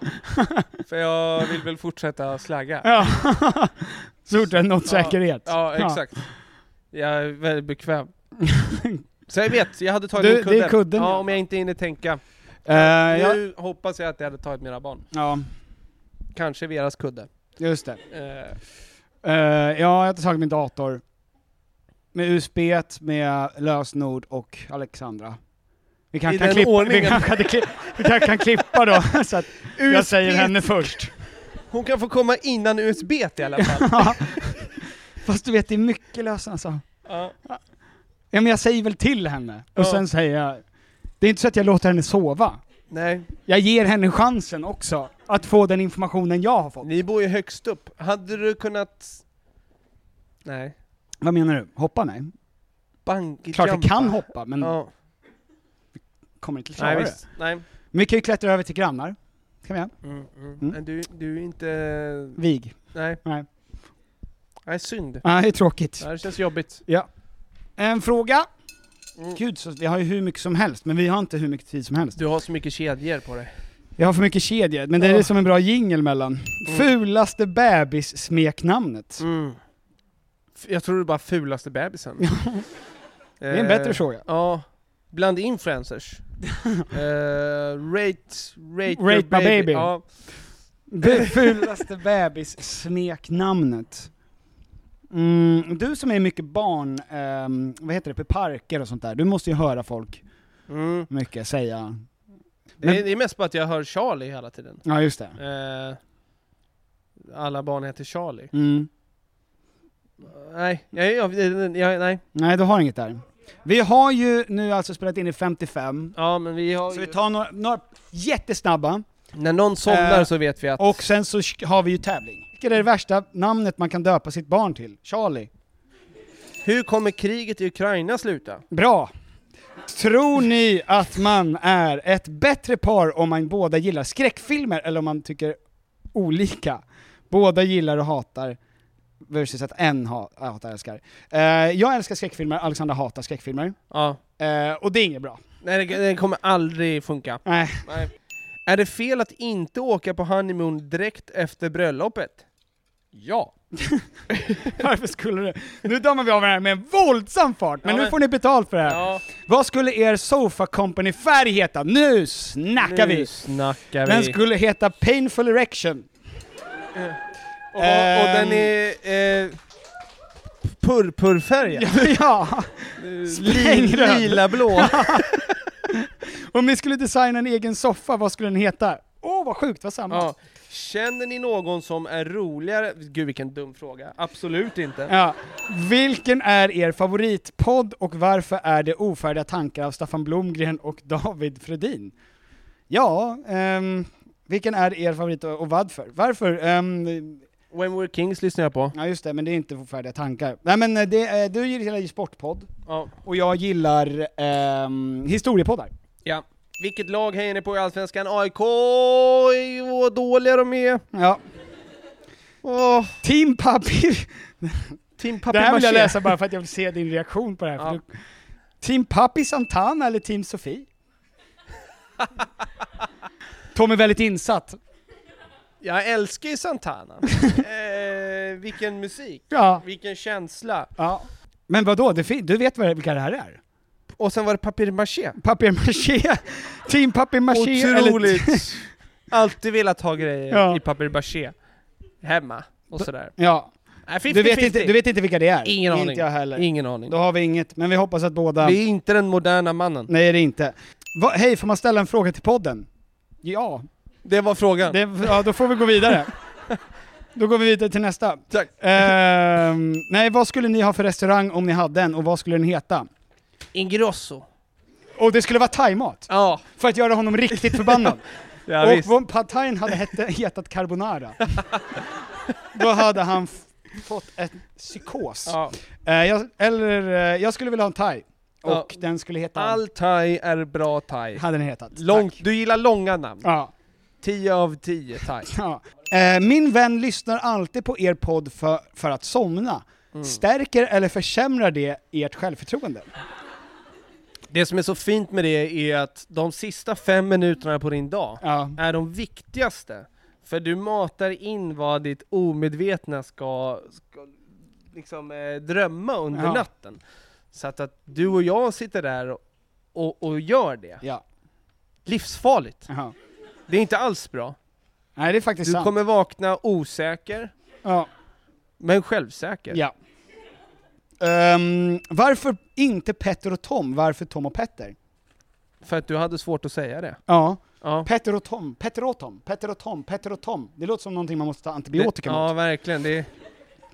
[SPEAKER 2] för jag vill väl fortsätta slagga.
[SPEAKER 1] Ja. Så fort det är något
[SPEAKER 2] Ja.
[SPEAKER 1] säkerhet.
[SPEAKER 2] Ja, exakt. Jag är väldigt bekväm. Så jag vet, jag hade tagit
[SPEAKER 1] Du,
[SPEAKER 2] min
[SPEAKER 1] det är
[SPEAKER 2] kudde.
[SPEAKER 1] kudden,
[SPEAKER 2] ja,
[SPEAKER 1] ja.
[SPEAKER 2] om jag inte hinner tänka.
[SPEAKER 1] Eh, ja.
[SPEAKER 2] Nu hoppas jag att jag hade tagit mina barn.
[SPEAKER 1] ja,
[SPEAKER 2] Kanske Veras kudde.
[SPEAKER 1] just det.
[SPEAKER 2] Eh,
[SPEAKER 1] Eh, ja, jag har tagit min dator. Med USB, med lösenord och Alexandra. Vi
[SPEAKER 2] I
[SPEAKER 1] kan, kan,
[SPEAKER 2] den
[SPEAKER 1] klippa, vi
[SPEAKER 2] ordningen.
[SPEAKER 1] kan, kan, klippa, vi kan, kan klippa då, så att jag
[SPEAKER 2] USB.
[SPEAKER 1] säger henne först.
[SPEAKER 2] Hon kan få komma innan USB i alla fall.
[SPEAKER 1] Ja. Fast du vet, det är mycket lösen alltså.
[SPEAKER 2] Ja.
[SPEAKER 1] Ja men jag säger väl till henne, och
[SPEAKER 2] Ja.
[SPEAKER 1] sen säger jag... Det är inte så att jag låter henne sova.
[SPEAKER 2] Nej,
[SPEAKER 1] Jag ger henne chansen också, att få den informationen jag har fått.
[SPEAKER 2] ni bor ju högst upp. Hade du kunnat... Nej.
[SPEAKER 1] Vad menar du? Hoppa? Nej.
[SPEAKER 2] Bungee
[SPEAKER 1] Klart vi
[SPEAKER 2] jumpa.
[SPEAKER 1] kan hoppa, men
[SPEAKER 2] Ja.
[SPEAKER 1] kommer inte klara
[SPEAKER 2] Nej,
[SPEAKER 1] det.
[SPEAKER 2] visst. Nej.
[SPEAKER 1] Men vi kan ju klättra över till grannar. Kan vi göra?
[SPEAKER 2] Mm, mm.
[SPEAKER 1] Mm.
[SPEAKER 2] Men Du, du är inte...
[SPEAKER 1] Vig.
[SPEAKER 2] Nej.
[SPEAKER 1] Nej.
[SPEAKER 2] Nej, synd.
[SPEAKER 1] Nej, det är tråkigt.
[SPEAKER 2] Det här känns jobbigt.
[SPEAKER 1] En fråga.
[SPEAKER 2] Mm.
[SPEAKER 1] Gud, så vi har ju hur mycket som helst, men vi har inte hur mycket tid som helst.
[SPEAKER 2] Du har så mycket kedjor på dig.
[SPEAKER 1] Jag har för mycket kedjor, men det är
[SPEAKER 2] Ja.
[SPEAKER 1] som en bra jingel mellan. Fulaste bebissmeknamnet.
[SPEAKER 2] Mm. F- Jag tror du bara fulaste bebisen.
[SPEAKER 1] Det är en
[SPEAKER 2] Eh.
[SPEAKER 1] bättre fråga.
[SPEAKER 2] Ja. Bland influencers. eh, rate... Rate, your
[SPEAKER 1] Rate my baby.
[SPEAKER 2] Ja.
[SPEAKER 1] Be- fulaste bebissmeknamnet. Mm, du som är mycket barn, ehm, vad heter det, på parker och sånt där, du måste ju höra folk
[SPEAKER 2] Mm.
[SPEAKER 1] mycket säga.
[SPEAKER 2] Det, är,
[SPEAKER 1] Men-
[SPEAKER 2] det är mest bara att jag hör Charlie hela tiden.
[SPEAKER 1] Ja, just det.
[SPEAKER 2] Eh, alla barn heter Charlie.
[SPEAKER 1] Mm.
[SPEAKER 2] Nej, jag, jag, jag, jag, nej.
[SPEAKER 1] Nej, du har inget där. Vi har ju nu alltså spelat in i 55,
[SPEAKER 2] Ja, men vi har
[SPEAKER 1] så
[SPEAKER 2] ju,
[SPEAKER 1] vi tar några, några jättesnabba,
[SPEAKER 2] När någon somnar
[SPEAKER 1] Eh,
[SPEAKER 2] så vet vi att...
[SPEAKER 1] och sen så sk- har vi ju tävling. Vilket är det värsta namnet man kan döpa sitt barn till? Charlie.
[SPEAKER 2] Hur kommer kriget i Ukraina sluta?
[SPEAKER 1] Bra! Tror ni att man är ett bättre par om man båda gillar skräckfilmer eller om man tycker olika? Båda gillar och hatar, versus att en ha- hatar älskar. Eh, jag älskar skräckfilmer, Alexandra hatar skräckfilmer.
[SPEAKER 2] Ja.
[SPEAKER 1] Eh, och det är inget bra. Eh,
[SPEAKER 2] Nej, det, det kommer aldrig funka.
[SPEAKER 1] Nej.
[SPEAKER 2] Nej. Är det fel att inte åka på honeymoon direkt efter bröllopet? Ja.
[SPEAKER 1] Varför skulle du? Nu dammar vi av det här med en våldsam fart, men,
[SPEAKER 2] Ja,
[SPEAKER 1] nu
[SPEAKER 2] men-
[SPEAKER 1] får ni betalt för det här.
[SPEAKER 2] ja.
[SPEAKER 1] Vad skulle er Sofa Company-färg heta? Nu snackar
[SPEAKER 2] nu
[SPEAKER 1] vi!
[SPEAKER 2] snackar vi.
[SPEAKER 1] Den skulle heta Painful Erection.
[SPEAKER 2] och, och den är... Eh, Purpurfärgad.
[SPEAKER 1] ja.
[SPEAKER 2] Lila,
[SPEAKER 1] sprängröd.
[SPEAKER 2] lila blå.
[SPEAKER 1] Om ni skulle designa en egen soffa, vad skulle den heta? Åh vad sjukt, vad samma.
[SPEAKER 2] Ja. Känner ni någon som är roligare? Gud vilken dum fråga. Absolut inte.
[SPEAKER 1] Ja. Vilken är er favoritpodd och varför är det Ofärdiga tankar av Staffan Blomgren och David Fredin? Ja, ehm, vilken är er favorit och och varför? Varför? Ehm,
[SPEAKER 2] When We're Kings lyssnar jag på.
[SPEAKER 1] ja just det, men det är inte Ofärdiga tankar. Nej men eh, det, eh, du gillar ju sportpodd,
[SPEAKER 2] Ja.
[SPEAKER 1] och jag gillar ehm, historiepoddar.
[SPEAKER 2] ja. Vilket lag hejar ni på i Allsvenskan? AIK? Oj, Vad dåliga de är.
[SPEAKER 1] Ja.
[SPEAKER 2] Åh,
[SPEAKER 1] Team Pappi!
[SPEAKER 2] Team
[SPEAKER 1] Det här vill jag
[SPEAKER 2] Papier-Mâché.
[SPEAKER 1] läsa bara för att jag vill se din reaktion på det här. för
[SPEAKER 2] Ja.
[SPEAKER 1] Du, team Papi Santana eller Team Sofie? Tom är väldigt insatt.
[SPEAKER 2] Jag älskar ju Santana. eh, vilken musik.
[SPEAKER 1] Ja.
[SPEAKER 2] Vilken känsla.
[SPEAKER 1] ja. Men vadå, det fin- du vet vad det- vilka det här är?
[SPEAKER 2] Och sen var det papier maché.
[SPEAKER 1] Papier maché, team papier maché.
[SPEAKER 2] Otroligt! Alltid velat ha grejer
[SPEAKER 1] Ja.
[SPEAKER 2] i papier maché. Hemma och sådär.
[SPEAKER 1] Ja,
[SPEAKER 2] Nej, 50,
[SPEAKER 1] du vet, inte, du vet inte vilka det är?
[SPEAKER 2] Ingen aning.
[SPEAKER 1] Inte jag heller.
[SPEAKER 2] Ingen aning.
[SPEAKER 1] Då har vi inget, men vi hoppas att båda...
[SPEAKER 2] Vi är inte den moderna mannen.
[SPEAKER 1] Nej, det är inte. Va, hej, får man ställa en fråga till podden? Ja.
[SPEAKER 2] Det var frågan.
[SPEAKER 1] Det, ja, då får vi gå vidare. Då går vi vidare till nästa.
[SPEAKER 2] Tack.
[SPEAKER 1] Ehm, nej, vad skulle ni ha för restaurang om ni hade en och vad skulle den heta?
[SPEAKER 2] Ingrosso.
[SPEAKER 1] Och det skulle vara thaimat,
[SPEAKER 2] Ja,
[SPEAKER 1] för att göra honom riktigt förbannad.
[SPEAKER 2] ja
[SPEAKER 1] och
[SPEAKER 2] visst.
[SPEAKER 1] om pad thaien hade hette, hetat carbonara, då hade han f- fått ett psykos.
[SPEAKER 2] Ja.
[SPEAKER 1] Eh, jag, eller, eh, jag skulle vilja ha en thai, och
[SPEAKER 2] Ja.
[SPEAKER 1] den skulle heta...
[SPEAKER 2] All thai är bra thai.
[SPEAKER 1] Hade den hetat.
[SPEAKER 2] Lång,
[SPEAKER 1] Tack.
[SPEAKER 2] du gillar långa namn.
[SPEAKER 1] Ja.
[SPEAKER 2] 10 av 10 thai.
[SPEAKER 1] Ja. Eh, min vän lyssnar alltid på er podd för, för att somna.
[SPEAKER 2] Mm.
[SPEAKER 1] Stärker eller försämrar det ert självförtroende?
[SPEAKER 2] Det som är så fint med det är att de sista fem minuterna på din dag
[SPEAKER 1] Ja.
[SPEAKER 2] är de viktigaste. För du matar in vad ditt omedvetna ska, ska liksom, eh, drömma under
[SPEAKER 1] Ja.
[SPEAKER 2] natten. Så att, att du och jag sitter där och, och gör det.
[SPEAKER 1] ja.
[SPEAKER 2] Livsfarligt.
[SPEAKER 1] Jaha.
[SPEAKER 2] Det är inte alls bra.
[SPEAKER 1] Nej det är faktiskt
[SPEAKER 2] Du
[SPEAKER 1] sant.
[SPEAKER 2] kommer vakna osäker,
[SPEAKER 1] Ja.
[SPEAKER 2] men självsäker.
[SPEAKER 1] ja. Ehm, varför inte Petter och Tom? Varför Tom och Petter?
[SPEAKER 2] För att du hade svårt att säga det.
[SPEAKER 1] Ja.
[SPEAKER 2] Ja.
[SPEAKER 1] Petter och Tom, Petter och Tom, Petter och Tom, Petter och Tom. Det låter som någonting man måste ta
[SPEAKER 2] det
[SPEAKER 1] antibiotika mot.
[SPEAKER 2] ja, verkligen. Det,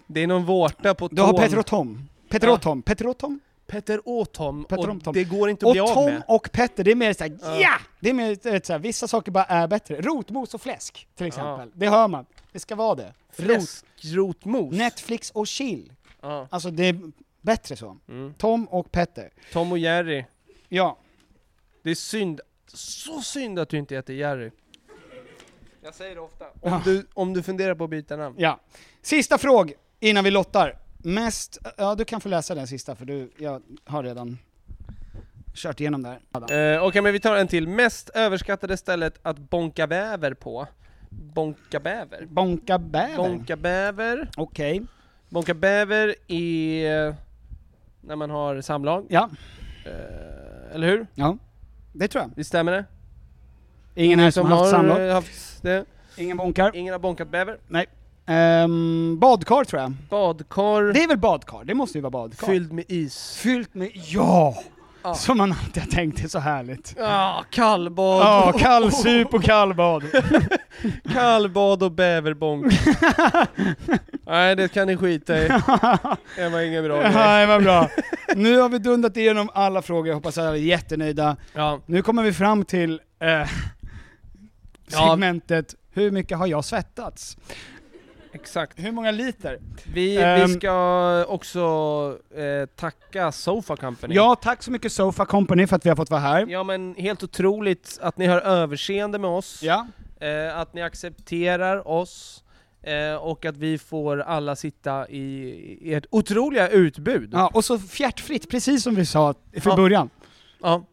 [SPEAKER 2] det är någon vårta på
[SPEAKER 1] Du har
[SPEAKER 2] tån.
[SPEAKER 1] Petter och Tom. Petter
[SPEAKER 2] Ja.
[SPEAKER 1] och Tom, Petter och Tom.
[SPEAKER 2] Petter och Tom,
[SPEAKER 1] Petter
[SPEAKER 2] och
[SPEAKER 1] och Tom.
[SPEAKER 2] det går inte att
[SPEAKER 1] Och
[SPEAKER 2] bli av
[SPEAKER 1] Tom
[SPEAKER 2] med.
[SPEAKER 1] och Petter, det är mer såhär ja!
[SPEAKER 2] Ja.
[SPEAKER 1] Det är mer eh, såhär, vissa saker bara är bättre. Rotmos och fläsk till exempel.
[SPEAKER 2] Ja.
[SPEAKER 1] Det hör man. Det ska vara det. Rot,
[SPEAKER 2] Fläskrotmos.
[SPEAKER 1] Netflix och chill.
[SPEAKER 2] Ja.
[SPEAKER 1] Alltså det är bättre så.
[SPEAKER 2] Mm.
[SPEAKER 1] Tom och Petter.
[SPEAKER 2] Tom och Jerry.
[SPEAKER 1] Ja.
[SPEAKER 2] Det är synd, så synd att du inte heter Jerry. Jag säger det ofta. Om,
[SPEAKER 1] Ja.
[SPEAKER 2] du, om du funderar på att byta namn.
[SPEAKER 1] ja. Sista fråga innan vi lottar. Mest, ja du kan få läsa den sista för du, jag har redan kört igenom det här.
[SPEAKER 2] Eh, Okej, men vi tar en till. Mest överskattade stället att bonka bäver på? Bonka bäver?
[SPEAKER 1] Bonka bäver.
[SPEAKER 2] Bonka bäver.
[SPEAKER 1] Okej.
[SPEAKER 2] Bonka bäver är när man har samlag,
[SPEAKER 1] Ja.
[SPEAKER 2] eh, eller hur?
[SPEAKER 1] Ja. Det tror jag.
[SPEAKER 2] Visst stämmer det?
[SPEAKER 1] Ingen här som, har haft samlag.
[SPEAKER 2] eh, haft det.
[SPEAKER 1] Ingen bonkar.
[SPEAKER 2] Ingen har bonkat bäver.
[SPEAKER 1] Ehm, badkar tror jag.
[SPEAKER 2] Badkar
[SPEAKER 1] Det är väl badkar? Det måste ju vara badkar.
[SPEAKER 2] fylld med is.
[SPEAKER 1] Fyllt med, ja!
[SPEAKER 2] Ja.
[SPEAKER 1] Som man alltid har tänkt, det är så härligt.
[SPEAKER 2] Ah, kallbad.
[SPEAKER 1] Ja, kallsup och kallbad.
[SPEAKER 2] Kallbad och bäverbonk. Nej, det kan ni skita i. Det var ingen bra grej.
[SPEAKER 1] Nej, vad bra. Nu har vi dundat igenom alla frågor, jag hoppas alla är jättenöjda.
[SPEAKER 2] Ja.
[SPEAKER 1] Nu kommer vi fram till eh, segmentet Hur mycket har jag svettats?
[SPEAKER 2] Exakt.
[SPEAKER 1] Hur många liter?
[SPEAKER 2] Vi,
[SPEAKER 1] Ehm.
[SPEAKER 2] vi ska också eh, tacka Sofa Company.
[SPEAKER 1] Ja, tack så mycket Sofa Company för att vi har fått vara här.
[SPEAKER 2] ja, men helt otroligt att ni har överseende med oss,
[SPEAKER 1] Ja.
[SPEAKER 2] eh, att ni accepterar oss eh, och att vi får alla sitta i, i ert otroliga utbud.
[SPEAKER 1] ja, och så fjärtfritt, precis som vi sa från
[SPEAKER 2] Ja.
[SPEAKER 1] början.
[SPEAKER 2] Ja,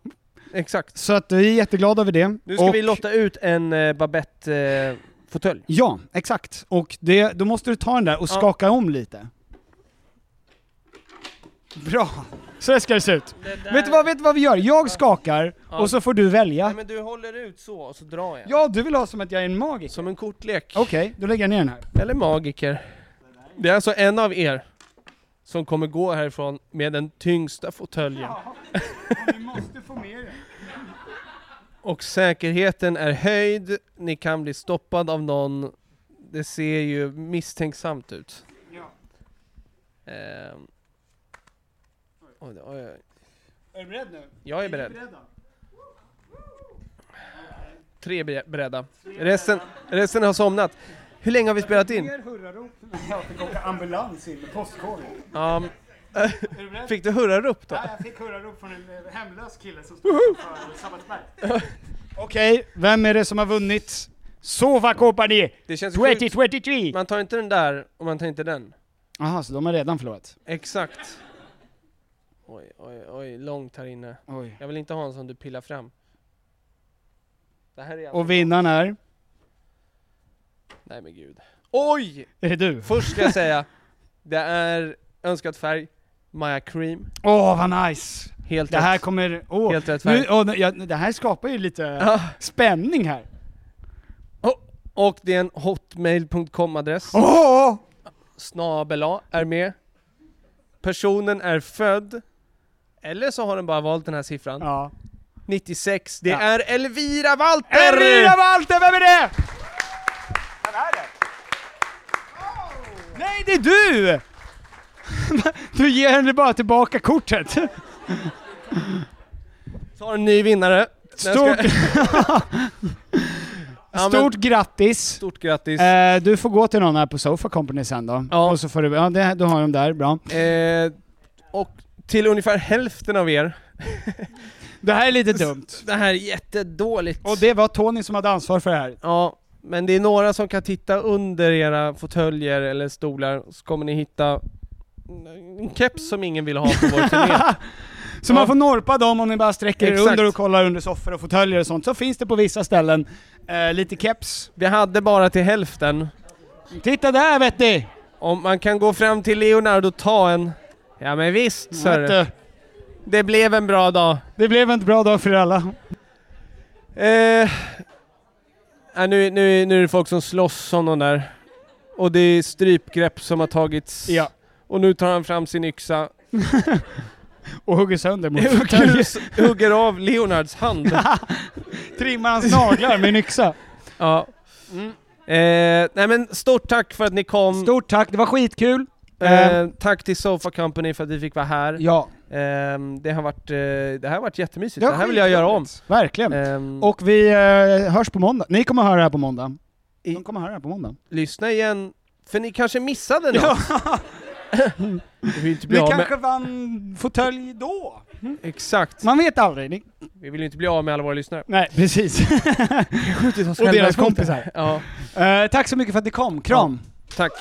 [SPEAKER 2] exakt.
[SPEAKER 1] Så att vi är jätteglada över det.
[SPEAKER 2] Nu ska
[SPEAKER 1] Och-
[SPEAKER 2] vi lotta ut en eh, Babette-fåtölj.
[SPEAKER 1] Ja, exakt. Och det, då måste du ta den där och
[SPEAKER 2] Ja.
[SPEAKER 1] skaka om lite. Bra! Så här ska det se ut. Vet du, vad, vet du vad vi gör? Jag skakar,
[SPEAKER 2] Ja.
[SPEAKER 1] och så får du
[SPEAKER 2] Nej
[SPEAKER 1] välja.
[SPEAKER 2] men du håller ut så, och så drar jag.
[SPEAKER 1] Ja, du vill ha som att jag är en magiker?
[SPEAKER 2] Som en kortlek.
[SPEAKER 1] Okej, då lägger jag ner den här.
[SPEAKER 2] Eller magiker. Det är alltså en av er som kommer gå härifrån med den tyngsta fåtöljen.
[SPEAKER 1] Vi måste få med den.
[SPEAKER 2] Och säkerheten är höjd, ni kan bli stoppad av någon. Det ser ju misstänksamt ut.
[SPEAKER 1] Ja.
[SPEAKER 2] Ehm. Oj, oj, oj.
[SPEAKER 1] Är du beredd nu?
[SPEAKER 2] Jag är beredd. Tre be- beredda. Resten, resten har somnat. Hur länge har vi spelat in?
[SPEAKER 1] hurrarop när jag fick åka ambulans in med postkoden.
[SPEAKER 2] Ja,
[SPEAKER 1] Är du beredd?
[SPEAKER 2] fick du hurrarop då?
[SPEAKER 1] jag fick hurrarop från en eh, hemlös kille som stod utanför Sabbatsberg. Okej, vem är det som har vunnit? Sova Company
[SPEAKER 2] Det känns sjukt.
[SPEAKER 1] 2023!
[SPEAKER 2] Man tar inte den där och man tar inte den.
[SPEAKER 1] Jaha, så de har redan förlorat?
[SPEAKER 2] Exakt. Oj, oj, oj, långt här inne.
[SPEAKER 1] Oj.
[SPEAKER 2] Jag vill inte ha en som du pillar fram. Det här är alltså...
[SPEAKER 1] Och vinnaren är?
[SPEAKER 2] Nej men gud. Oj!
[SPEAKER 1] Är det du?
[SPEAKER 2] Först ska jag säga, det är önskat färg, Maja Cream.
[SPEAKER 1] Åh, vad nice!
[SPEAKER 2] Helt
[SPEAKER 1] Det här
[SPEAKER 2] rätt.
[SPEAKER 1] kommer... Åh,
[SPEAKER 2] Helt rätt
[SPEAKER 1] nu,
[SPEAKER 2] färg.
[SPEAKER 1] åh, ja, det här skapar ju lite
[SPEAKER 2] Ja.
[SPEAKER 1] spänning här.
[SPEAKER 2] Och, och det är en hotmail.com-adress.
[SPEAKER 1] Åh!
[SPEAKER 2] Snabel A är med. Personen är född. Eller så har den bara valt den här siffran.
[SPEAKER 1] Ja.
[SPEAKER 2] 96. Det
[SPEAKER 1] Ja.
[SPEAKER 2] är Elvira Walter!
[SPEAKER 1] Erja Walter, vem är det? Vem är det? Nej, det är du! Du ger henne bara tillbaka kortet.
[SPEAKER 2] Så har en ny vinnare. Nej, jag
[SPEAKER 1] Stort,
[SPEAKER 2] skojar. Ja, men-
[SPEAKER 1] stort grattis!
[SPEAKER 2] Stort grattis.
[SPEAKER 1] Eh, du får gå till någon här på Sofa Company sen då.
[SPEAKER 2] Ja.
[SPEAKER 1] Och så får du, ja det, du har dem där, bra.
[SPEAKER 2] Eh, och till ungefär hälften av er.
[SPEAKER 1] Det här är lite dumt.
[SPEAKER 2] Det här är jättedåligt.
[SPEAKER 1] Och det var Tony som hade ansvar för det här.
[SPEAKER 2] Ja, men det är några som kan titta under era fåtöljer eller stolar, så kommer ni hitta en keps som ingen vill ha på vår turné.
[SPEAKER 1] Så
[SPEAKER 2] Ja.
[SPEAKER 1] man får norpa dem om ni bara sträcker er
[SPEAKER 2] Exakt.
[SPEAKER 1] under och kollar under soffor och fåtöljer och sånt. Så finns det på vissa ställen. Eh, lite keps.
[SPEAKER 2] Vi hade bara till hälften.
[SPEAKER 1] Titta där vet ni!
[SPEAKER 2] Om man kan gå fram till Leonardo och ta en... Ja men visst
[SPEAKER 1] Vet
[SPEAKER 2] sir.
[SPEAKER 1] du.
[SPEAKER 2] Det blev en bra dag.
[SPEAKER 1] Det blev en bra dag för er alla.
[SPEAKER 2] Eh, ja, nu, nu, nu är det folk som slåss om de där. Och det är strypgrepp som har tagits.
[SPEAKER 1] Ja.
[SPEAKER 2] Och nu tar han fram sin yxa.
[SPEAKER 1] Och hugger sönder mot fåtöljer.
[SPEAKER 2] Hugger, hugger av Leonards hand.
[SPEAKER 1] Trimmar hans naglar med en yxa.
[SPEAKER 2] Ja. Mm. Eh, nej men stort tack för att ni kom.
[SPEAKER 1] Stort tack, det var skitkul.
[SPEAKER 2] eh, tack till Sofa Company för att vi fick vara här.
[SPEAKER 1] Ja.
[SPEAKER 2] Eh, det, har varit, eh, det här har varit jättemysigt. Det, här vill jag göra om.
[SPEAKER 1] Verkligen.
[SPEAKER 2] Eh, och
[SPEAKER 1] Och vi eh, hörs på måndag. Ni kommer höra det här på måndag.
[SPEAKER 2] I-
[SPEAKER 1] De kommer höra det här på måndag.
[SPEAKER 2] lyssna igen, för ni kanske missade något. Vi vill inte bli
[SPEAKER 1] Vi
[SPEAKER 2] av med,
[SPEAKER 1] kanske vann fåtölj då?
[SPEAKER 2] exakt.
[SPEAKER 1] Man vet aldrig. Ni-
[SPEAKER 2] Vi vill ju inte bli av med alla våra lyssnare.
[SPEAKER 1] Nej, precis.
[SPEAKER 2] Och
[SPEAKER 1] deras kompisar.
[SPEAKER 2] Ja,
[SPEAKER 1] Eh, tack så mycket för att ni kom. Kram!
[SPEAKER 2] tack.